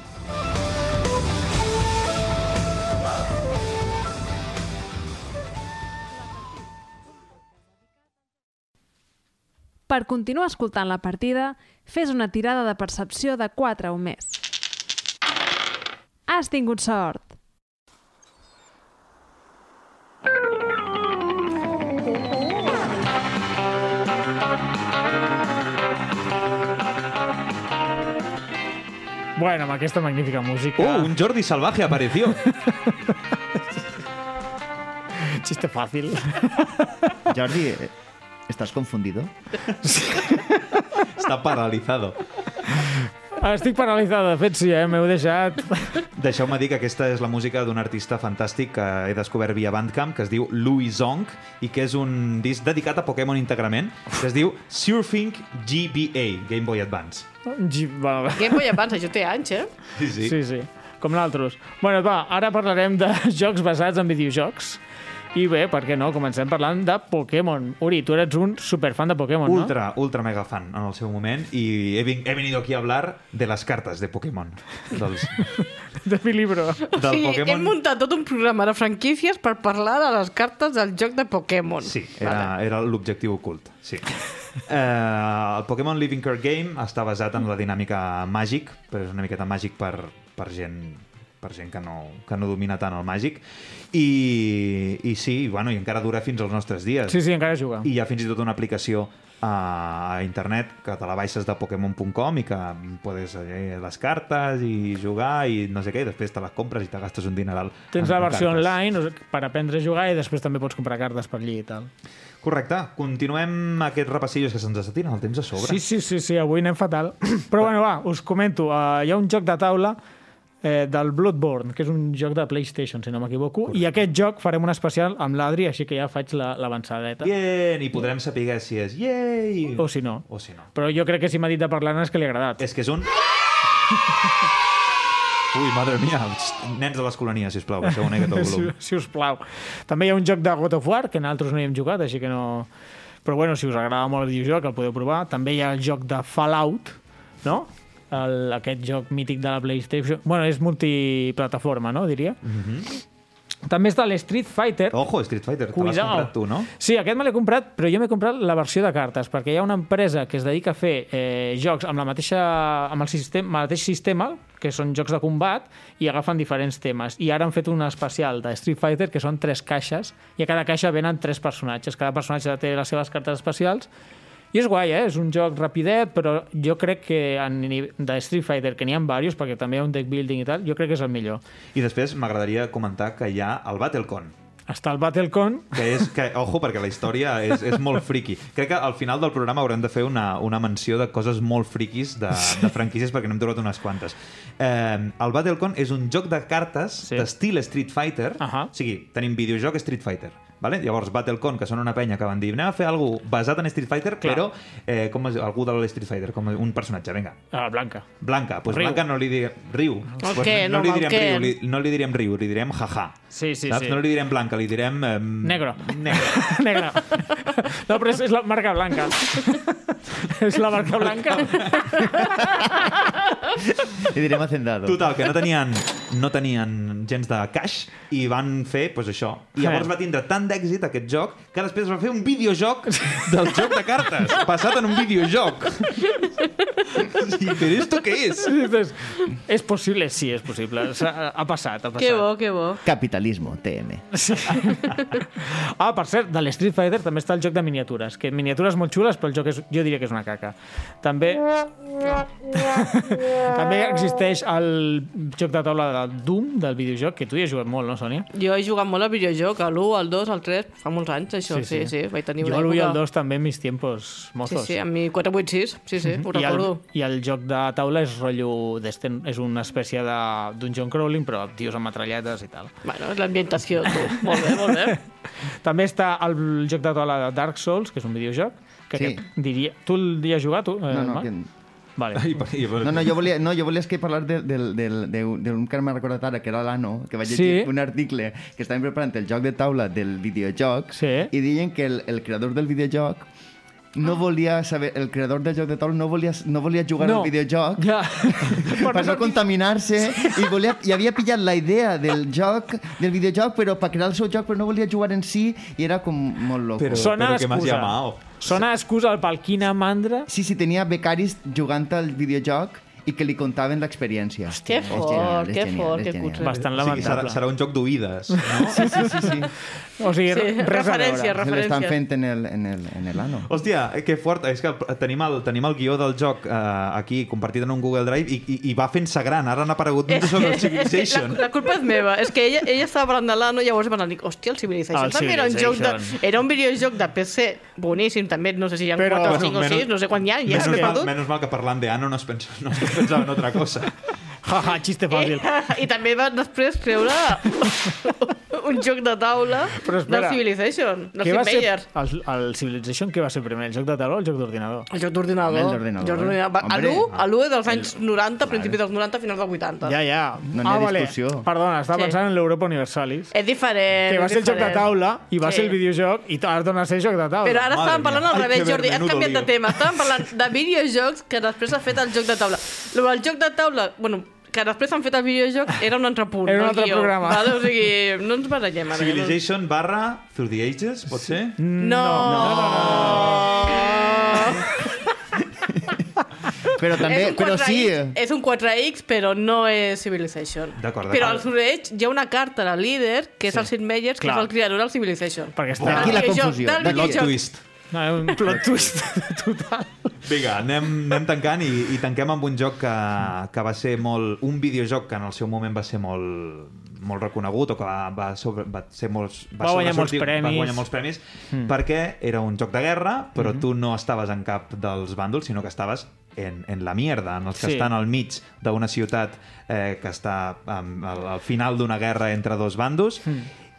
Speaker 7: Per continuar escoltant la partida, fes una tirada de percepció de 4 o més. Has tingut sort.
Speaker 2: Bueno, amb aquesta magnífica música.
Speaker 5: ¡Oh, un Jordi salvaje apareció!
Speaker 2: chiste fàcil.
Speaker 4: Jordi, eh, ¿estás confundido?
Speaker 5: Está paralizado.
Speaker 2: Estic paralitzada, de fet sí, eh? M'heu deixat...
Speaker 5: Deixeu-me dir que aquesta és la música d'un artista fantàstic que he descobert via Bandcamp, que es diu Louis Zong, i que és un disc dedicat a Pokémon íntegrament, que es diu Surfing GBA, Game Boy Advance.
Speaker 2: Gi- va, va.
Speaker 3: Game Boy Advance, això té anys, eh?
Speaker 5: Sí, sí.
Speaker 2: Sí, sí, com naltros. Bueno, va, ara parlarem de jocs basats en videojocs. I bé, per què no? Comencem parlant de Pokémon. Uri, tu eres un superfan de Pokémon,
Speaker 5: Ultra, ultra mega fan en el seu moment i he, vin he venido aquí a hablar de les cartes de Pokémon. Dels,
Speaker 2: no? De mi libro.
Speaker 5: del
Speaker 3: o sigui, hem
Speaker 5: Pokémon...
Speaker 3: muntat tot un programa de franquícies per parlar de les cartes del joc de Pokémon.
Speaker 5: Sí, era, era l'objectiu ocult. Sí. Eh, el Pokémon Living Card Game està basat en la dinàmica màgic, però és una miqueta màgic per, per gent per gent que no, que no domina tant el màgic. I, i sí, bueno, i encara dura fins als nostres dies.
Speaker 2: Sí, sí, encara juga.
Speaker 5: I hi ha fins i tot una aplicació eh, a, a internet que te la baixes de Pokémon.com i que podes eh, les cartes i jugar i no sé què, i després te les compres i te gastes un dineral.
Speaker 2: Tens
Speaker 5: en
Speaker 2: la versió
Speaker 5: cartes.
Speaker 2: online o sigui, per aprendre a jugar i després també pots comprar cartes per allí i tal.
Speaker 5: Correcte, continuem aquests repassillos que se'ns està tirant el temps a sobre.
Speaker 2: Sí, sí, sí, sí, avui anem fatal. Però bueno, va, us comento. Uh, hi ha un joc de taula eh, del Bloodborne, que és un joc de PlayStation, si no m'equivoco, i aquest joc farem un especial amb l'Adri, així que ja faig la- l'avançadeta. La,
Speaker 5: Bien, i podrem saber si és yay
Speaker 2: o si no.
Speaker 5: o si no.
Speaker 2: Però jo crec que si m'ha dit de parlar és que li ha agradat.
Speaker 5: És que és un... Ui, madre mia, Xxt, nens de les colònies, sisplau, baixeu una miqueta el
Speaker 2: Si,
Speaker 5: volum.
Speaker 2: si us plau. També hi ha un joc de God of War, que nosaltres no hi hem jugat, així que no... Però bueno, si us agrada molt el videojoc, el podeu provar. També hi ha el joc de Fallout, no? El, aquest joc mític de la PlayStation. Bueno, és multiplataforma, no? Diria. Mm -hmm. També està l'Street Fighter.
Speaker 5: Ojo, Street Fighter, te l'has
Speaker 2: Cuidao.
Speaker 5: comprat tu, no?
Speaker 2: Sí, aquest me l'he comprat, però jo m'he comprat la versió de cartes, perquè hi ha una empresa que es dedica a fer eh, jocs amb, la mateixa, amb el, sistema, amb el mateix sistema, que són jocs de combat, i agafen diferents temes. I ara han fet un especial de Street Fighter, que són tres caixes, i a cada caixa venen tres personatges. Cada personatge té les seves cartes especials, i és guai, eh? És un joc rapidet, però jo crec que en, ni- de Street Fighter, que n'hi ha diversos, perquè també hi ha un deck building i tal, jo crec que és el millor.
Speaker 5: I després m'agradaria comentar que hi ha el Battlecon,
Speaker 2: Està el Battlecon,
Speaker 5: que és, que, ojo, perquè la història és, és molt friki. Crec que al final del programa haurem de fer una, una menció de coses molt friquis de, de franquícies perquè n'hem trobat unes quantes. Eh, el Battlecon és un joc de cartes
Speaker 2: Sí.
Speaker 5: sí. d'estil Street Fighter.
Speaker 2: Ahà.
Speaker 5: O sigui, tenim videojoc Street Fighter. Vale? Llavors, Battlecon, que són una penya que van dir anem a fer alguna basat en Street Fighter,
Speaker 2: Clar.
Speaker 5: però eh, com es, algú de l'Street Fighter, com un personatge, vinga.
Speaker 2: a la Blanca.
Speaker 5: Blanca, doncs pues
Speaker 2: Riu.
Speaker 5: Blanca no li direm... Riu.
Speaker 3: El
Speaker 5: Pues
Speaker 3: què?
Speaker 5: no,
Speaker 3: No,
Speaker 5: li
Speaker 3: el
Speaker 5: direm
Speaker 3: què?
Speaker 5: riu, li, no li direm riu, li direm jaja.
Speaker 2: Sí, sí,
Speaker 5: Saps?
Speaker 2: sí.
Speaker 5: No li direm blanca, li direm... Eh,
Speaker 2: Negro.
Speaker 5: Negro.
Speaker 2: Negra. No, però és, és la marca blanca. és la marca blanca.
Speaker 4: Y diré hacendado.
Speaker 5: Total, que no tenien, no tenien gens de cash i van fer pues, això. I llavors
Speaker 2: Eh.
Speaker 5: va tindre tant d'èxit aquest joc que després va fer un videojoc del joc de cartes, passat en un videojoc. Sí, però esto què és?
Speaker 2: Dices, és possible? Sí, és possible. Ha, ha passat, ha passat.
Speaker 3: Que bo, que bo.
Speaker 4: Capitalismo, TM.
Speaker 2: Sí. ah, per cert, de l'Street Fighter també està el joc de miniatures, que miniatures molt xules, però el joc és, jo diria que és una caca. També... també existeix el joc de taula de Doom, del videojoc, que tu hi has jugat molt, no, Sònia?
Speaker 3: Jo he jugat molt al videojoc, a l'1, al 2, al 3, fa molts anys, això, sí, sí. sí, Vaig tenir
Speaker 2: jo
Speaker 3: una
Speaker 2: l'1 i
Speaker 3: època...
Speaker 2: el 2 també en mis tiempos
Speaker 3: Sí,
Speaker 2: mozos.
Speaker 3: sí, amb mi 486, sí, sí, ho
Speaker 2: Mhm. I el,
Speaker 3: recordo.
Speaker 2: I el joc de taula és rotllo... d'Sten- És una espècie de dungeon crawling, però amb tios amb metralletes i tal.
Speaker 3: Bueno, és l'ambientació, tu. Molt bé, molt bé.
Speaker 2: També està el joc de taula de Dark Souls, que és un videojoc, que
Speaker 4: Sí.
Speaker 2: aquest diria... Tu el dia jugat, tu? eh,
Speaker 4: No, no,
Speaker 2: Marc?
Speaker 4: que-
Speaker 2: Vale.
Speaker 5: I, i,
Speaker 4: No, no, jo volia, no, jo volia és que parlar de, del del d'un de, que m'ha recordat ara, que era l'Ano, que vaig
Speaker 2: Sí.
Speaker 4: llegir un article que estaven preparant el joc de taula del videojoc
Speaker 2: Sí.
Speaker 4: i deien que el, el creador del videojoc no volia saber, el creador del joc de taula no volia, no volia jugar
Speaker 2: No.
Speaker 4: al videojoc
Speaker 2: Ja.
Speaker 4: per no contaminar-se i, volia, i havia pillat la idea del joc, del videojoc, però per crear el seu joc, però no volia jugar en si i era com molt loco.
Speaker 5: Però-
Speaker 2: Sona
Speaker 5: que m'has
Speaker 2: excusa.
Speaker 5: llamado.
Speaker 2: Sona excusa pel quina mandra...
Speaker 4: Sí, sí, tenia becaris jugant al videojoc i que li contaven l'experiència.
Speaker 3: Hòstia,
Speaker 4: És
Speaker 3: fort,
Speaker 4: genial, és
Speaker 3: que
Speaker 4: genial,
Speaker 3: fort,
Speaker 4: és
Speaker 3: que
Speaker 4: genial.
Speaker 3: cutre.
Speaker 2: Bastant
Speaker 5: O sigui, serà,
Speaker 2: lamentable.
Speaker 5: serà un joc d'oïdes. No?
Speaker 4: Sí, sí, sí, sí.
Speaker 2: O sigui,
Speaker 3: Sí,
Speaker 2: res
Speaker 3: referència,
Speaker 2: a veure.
Speaker 4: Se l'estan
Speaker 3: referència.
Speaker 4: fent en el, en el, en el ano.
Speaker 5: Hòstia, eh, que fort. És que tenim el, tenim el guió del joc eh, aquí compartit en un Google Drive i, i, i va fent-se gran. Ara han aparegut
Speaker 3: És
Speaker 5: un sobre el
Speaker 3: que-
Speaker 5: Civilization.
Speaker 3: La, la culpa és meva. És que ella, ella estava parlant de l'Ano i llavors van dir, hòstia, el Civilization
Speaker 2: El
Speaker 3: també era un joc de...
Speaker 2: Civilization.
Speaker 3: Era un videojoc de PC boníssim, també. No sé si hi ha
Speaker 2: Però- Bueno,
Speaker 3: 4 o 5 o 6, no sé quan hi ha. Ja
Speaker 5: Menos,
Speaker 3: s'ha
Speaker 5: mal,
Speaker 3: perdut.
Speaker 5: menos mal que parlant d'Ano no es, pensa, no es pensava en otra cosa.
Speaker 2: Ja, ja, xiste fàcil.
Speaker 3: Eh, I també va després creure un joc de taula
Speaker 2: Però espera.
Speaker 3: del Civilization, del
Speaker 2: Què
Speaker 3: Sid
Speaker 2: va ser,
Speaker 3: Meier.
Speaker 2: el, el Civilization què va ser primer? El joc de taula o el joc d'ordinador?
Speaker 3: El joc d'ordinador.
Speaker 4: Home, el d'ordinador.
Speaker 3: Joc d'ordinador. Va,
Speaker 4: Hombre.
Speaker 3: l'1, a l'1 dels anys 90, principis dels 90, finals dels 80.
Speaker 2: Ja, ja.
Speaker 4: No n'hi ha discussió.
Speaker 2: Ah, Perdona, estava
Speaker 3: Sí. Eh,
Speaker 2: pensant en l'Europa Universalis.
Speaker 3: És diferent.
Speaker 2: Que va
Speaker 3: és
Speaker 2: ser el joc de
Speaker 3: diferent.
Speaker 2: taula i va
Speaker 3: Sí.
Speaker 2: ser el videojoc i ara torna a ser joc de taula.
Speaker 3: Però ara
Speaker 5: Madre
Speaker 3: estàvem parlant
Speaker 5: mia.
Speaker 3: al
Speaker 5: Ai,
Speaker 3: revés,
Speaker 5: que
Speaker 3: Jordi. Has
Speaker 5: menudo
Speaker 3: canviat de
Speaker 5: lío.
Speaker 3: tema. Estàvem parlant de videojocs que després ha fet el joc de taula. Lo del joc de taula... Bueno, que després han fet el videojoc era un altre punt.
Speaker 2: Era un
Speaker 3: no el
Speaker 2: altre
Speaker 3: guió,
Speaker 2: programa.
Speaker 3: Vale? O sigui, no ens barallem ara.
Speaker 5: Civilization barra Through the Ages, pot ser?
Speaker 3: No. no.
Speaker 4: Però també,
Speaker 3: és un
Speaker 4: però
Speaker 3: 4X,
Speaker 4: sí, eh.
Speaker 3: És un 4X, però no és Civilization.
Speaker 5: D'acord,
Speaker 3: Però
Speaker 5: d'acord.
Speaker 3: al Surreig hi ha una carta de líder, que és el Sid Meier's, que
Speaker 2: Clar.
Speaker 3: és el creador del Civilization.
Speaker 2: Perquè està...
Speaker 4: d'aquí la
Speaker 3: videojoc,
Speaker 4: confusió.
Speaker 3: del
Speaker 4: d'aquí-
Speaker 5: Plot
Speaker 3: videojoc.
Speaker 5: twist.
Speaker 2: No, un plot twist total.
Speaker 5: Vinga, anem, anem tancant i, i tanquem amb un joc que, que va ser molt... Un videojoc que en el seu moment va ser molt molt reconegut o que va, va, sobre, va ser molts...
Speaker 2: Va guanyar
Speaker 5: sobresortir-
Speaker 2: molts premis. Hmm.
Speaker 5: Va guanyar molts premis mm. perquè era un joc de guerra, però mm -hmm. tu no estaves en cap dels bàndols, sinó que estaves en, en la mierda, en els que
Speaker 2: Sí.
Speaker 5: sí. estan al mig d'una ciutat eh, que està um, al, al final d'una guerra entre dos bandos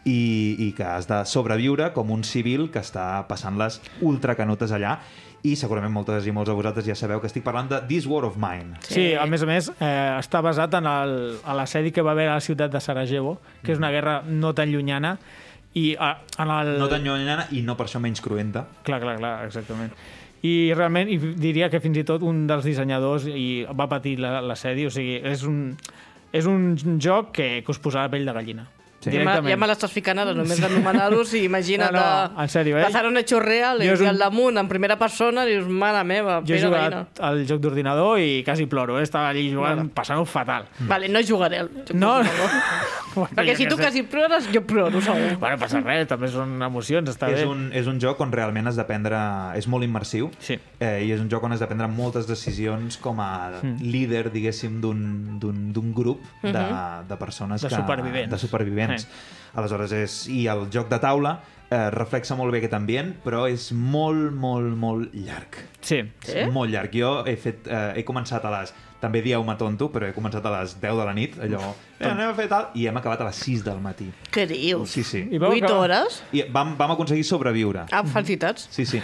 Speaker 5: i, i que has de sobreviure com un civil que està passant les ultracanutes allà i segurament moltes i molts de vosaltres ja sabeu que estic parlant de This War of Mine.
Speaker 2: Sí, a més a més, eh, està basat en el- a l'assedi que va haver a la ciutat de Sarajevo, que és una guerra no tan llunyana, i a, en el...
Speaker 5: No tan llunyana i no per això menys cruenta.
Speaker 2: Clar, clar, clar, exactament. I realment i diria que fins i tot un dels dissenyadors i va patir la- l'assedi, o sigui, és un, és un joc que, que us posarà pell de gallina. Sí.
Speaker 3: Ja me, ja me l'estàs ficant ara, només d'anomenar-los i imagina't
Speaker 2: No, no, en sèrio, eh?
Speaker 3: passar un hecho real i
Speaker 2: Jo és un-
Speaker 3: un... al damunt, en primera persona, i dius, mare meva,
Speaker 2: Jo he
Speaker 3: pera veïna.
Speaker 2: jugat al joc d'ordinador i quasi ploro, eh? estava allí jugant,
Speaker 3: Mare.
Speaker 2: passant-ho fatal.
Speaker 3: Vale, no jugaré al joc
Speaker 2: No,
Speaker 3: del
Speaker 2: no.
Speaker 3: jugador.
Speaker 2: Bueno,
Speaker 3: Perquè
Speaker 2: jo
Speaker 3: si
Speaker 2: què
Speaker 3: tu
Speaker 2: sé.
Speaker 3: quasi plores, jo ploro, segur.
Speaker 2: Bueno, passa res, també són emocions, està
Speaker 5: és
Speaker 2: bé.
Speaker 5: un, és un joc on realment has d'aprendre... És molt immersiu.
Speaker 2: Sí.
Speaker 5: Eh, I és un joc on has de prendre moltes decisions com a
Speaker 2: Hmm.
Speaker 5: líder, diguéssim, d'un- d'un d'un grup de, de persones
Speaker 2: Hmm. De
Speaker 5: que,
Speaker 2: supervivents.
Speaker 5: De supervivents.
Speaker 2: Sí.
Speaker 5: Aleshores, és, i el joc de taula eh, reflexa molt bé aquest ambient, però és molt, molt, molt llarg.
Speaker 2: Sí.
Speaker 5: Sí? És molt llarg. Jo he, fet, eh, he començat a les... També dieu-me tonto, però he començat a les 10 de la nit, allò... Eh, anem a fer tal... I hem acabat a les 6 del matí.
Speaker 3: Què dius?
Speaker 5: Sí, sí.
Speaker 2: I vau
Speaker 3: 8
Speaker 2: acabar-
Speaker 3: hores?
Speaker 5: I vam, vam aconseguir sobreviure.
Speaker 2: Mm.
Speaker 3: Ah, felicitats.
Speaker 5: Sí, sí.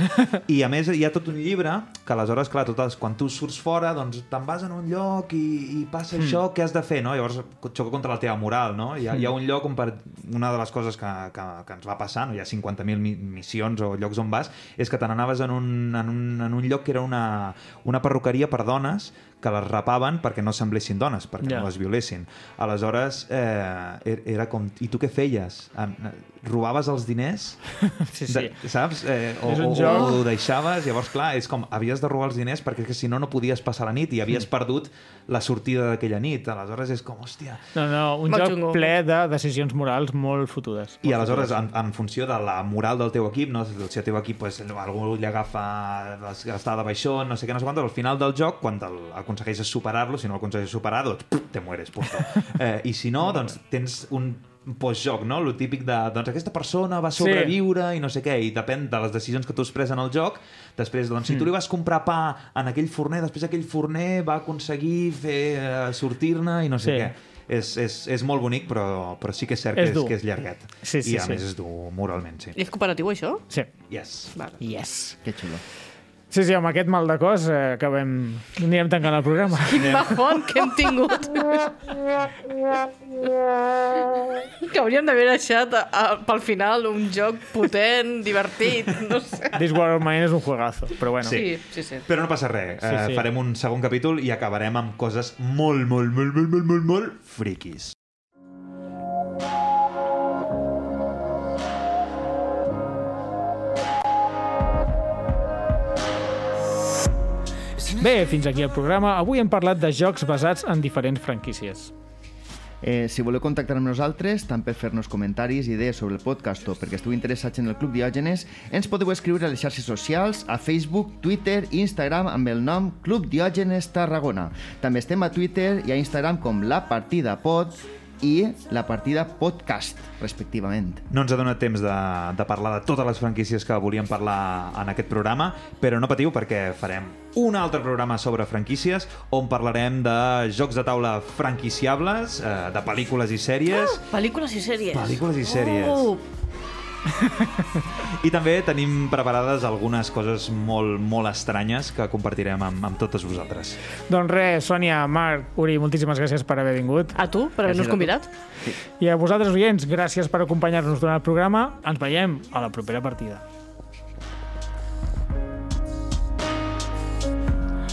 Speaker 5: I a més hi ha tot un llibre que aleshores, clar, totes, quan tu surts fora, doncs te'n vas en un lloc i, i passa mm. això, què has de fer, no? Llavors xoca contra la teva moral, no? Hi ha, hi ha un lloc on per una de les coses que, que, que ens va passar, no? hi ha 50.000 mi- missions o llocs on vas, és que te n'anaves en, un, en, un, en un lloc que era una, una perruqueria per dones que les rapaven perquè no semblessin dones, perquè
Speaker 2: Ja.
Speaker 5: no les violessin. Aleshores, eh, er- era com... I tu què feies? Em- eh, Robaves els diners?
Speaker 2: Sí, sí.
Speaker 5: De, saps? Eh, o,
Speaker 2: És un
Speaker 5: o,
Speaker 2: joc.
Speaker 5: o ho deixaves, llavors, clar, és com, havies de robar els diners perquè és que si no, no podies passar la nit i havies perdut la sortida d'aquella nit. Aleshores és com, hòstia...
Speaker 2: No, no, un
Speaker 3: Molt
Speaker 2: joc
Speaker 3: xungo.
Speaker 2: ple de decisions morals molt fotudes.
Speaker 5: I aleshores, en, en funció de la moral del teu equip, no? si el teu equip pues, algú li agafa es- està de baixó, no sé què, no sé quant, al final del joc, quan el, aconsegueixes superar-lo, si no l'aconsegueixes superar, doncs puf, te mueres, punto. Eh, I si no, doncs tens un postjoc, no? Lo típic de, doncs aquesta persona va sobreviure i no sé què, i depèn de les decisions que tu has pres en el joc, després, doncs,
Speaker 2: Hmm.
Speaker 5: si tu li vas comprar pa en aquell forner, després aquell forner va aconseguir fer eh, sortir-ne i no sé
Speaker 2: Sí.
Speaker 5: què. És, és, és molt bonic, però, però sí que és cert
Speaker 2: És
Speaker 5: que,
Speaker 2: dur.
Speaker 5: és, que és llarguet.
Speaker 2: Sí, sí,
Speaker 5: I a
Speaker 2: sí.
Speaker 5: més és dur moralment, sí.
Speaker 3: I és cooperatiu, això?
Speaker 2: Sí.
Speaker 5: Yes.
Speaker 3: Vale.
Speaker 2: Yes.
Speaker 4: que xulo.
Speaker 2: Sí, sí, amb aquest mal de cos eh, acabem... Anirem tancant el programa.
Speaker 3: Quin bajón que hem tingut. que hauríem d'haver deixat a, a, pel final un joc potent, divertit, no sé.
Speaker 2: This War of Mine és un juegazo, però bueno.
Speaker 3: Sí, sí, sí.
Speaker 5: Però no passa res.
Speaker 2: Sí,
Speaker 5: Sí, sí.
Speaker 2: sí.
Speaker 5: Eh, farem un segon capítol i acabarem amb coses molt, molt, molt, molt, molt, molt, molt friquis.
Speaker 1: It's an
Speaker 2: Bé, fins aquí el programa. Avui hem parlat de jocs basats en diferents franquícies.
Speaker 4: Eh, si voleu contactar amb nosaltres, tant per fer-nos comentaris, idees sobre el podcast o perquè esteu interessats en el Club Diògenes, ens podeu escriure a les xarxes socials, a Facebook, Twitter i Instagram amb el nom Club Diògenes Tarragona. També estem a Twitter i a Instagram com La Partida Pod i La Partida Podcast, respectivament.
Speaker 5: No ens ha donat temps de, de parlar de totes les franquícies que volíem parlar en aquest programa, però no patiu perquè farem un altre programa sobre franquícies on parlarem de jocs de taula franquiciables, eh, de pel·lícules i sèries...
Speaker 3: Ah, Pel·lícules i sèries.
Speaker 5: Pel·lícules i sèries.
Speaker 3: Uh,
Speaker 5: I també tenim preparades algunes coses molt, molt estranyes que compartirem amb, amb totes vosaltres.
Speaker 2: Doncs res, Sònia, Marc, Uri, moltíssimes gràcies per haver vingut.
Speaker 3: a tu,
Speaker 5: Gràcies a
Speaker 3: per haver-nos
Speaker 5: tu.
Speaker 3: convidat.
Speaker 2: I a vosaltres, oients, gràcies per acompanyar-nos durant el programa. Ens veiem a la propera partida.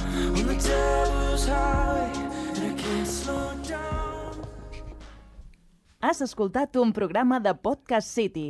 Speaker 1: On the devil's highway, and I can't slow down.
Speaker 8: Has escoltat un programa de Podcast City,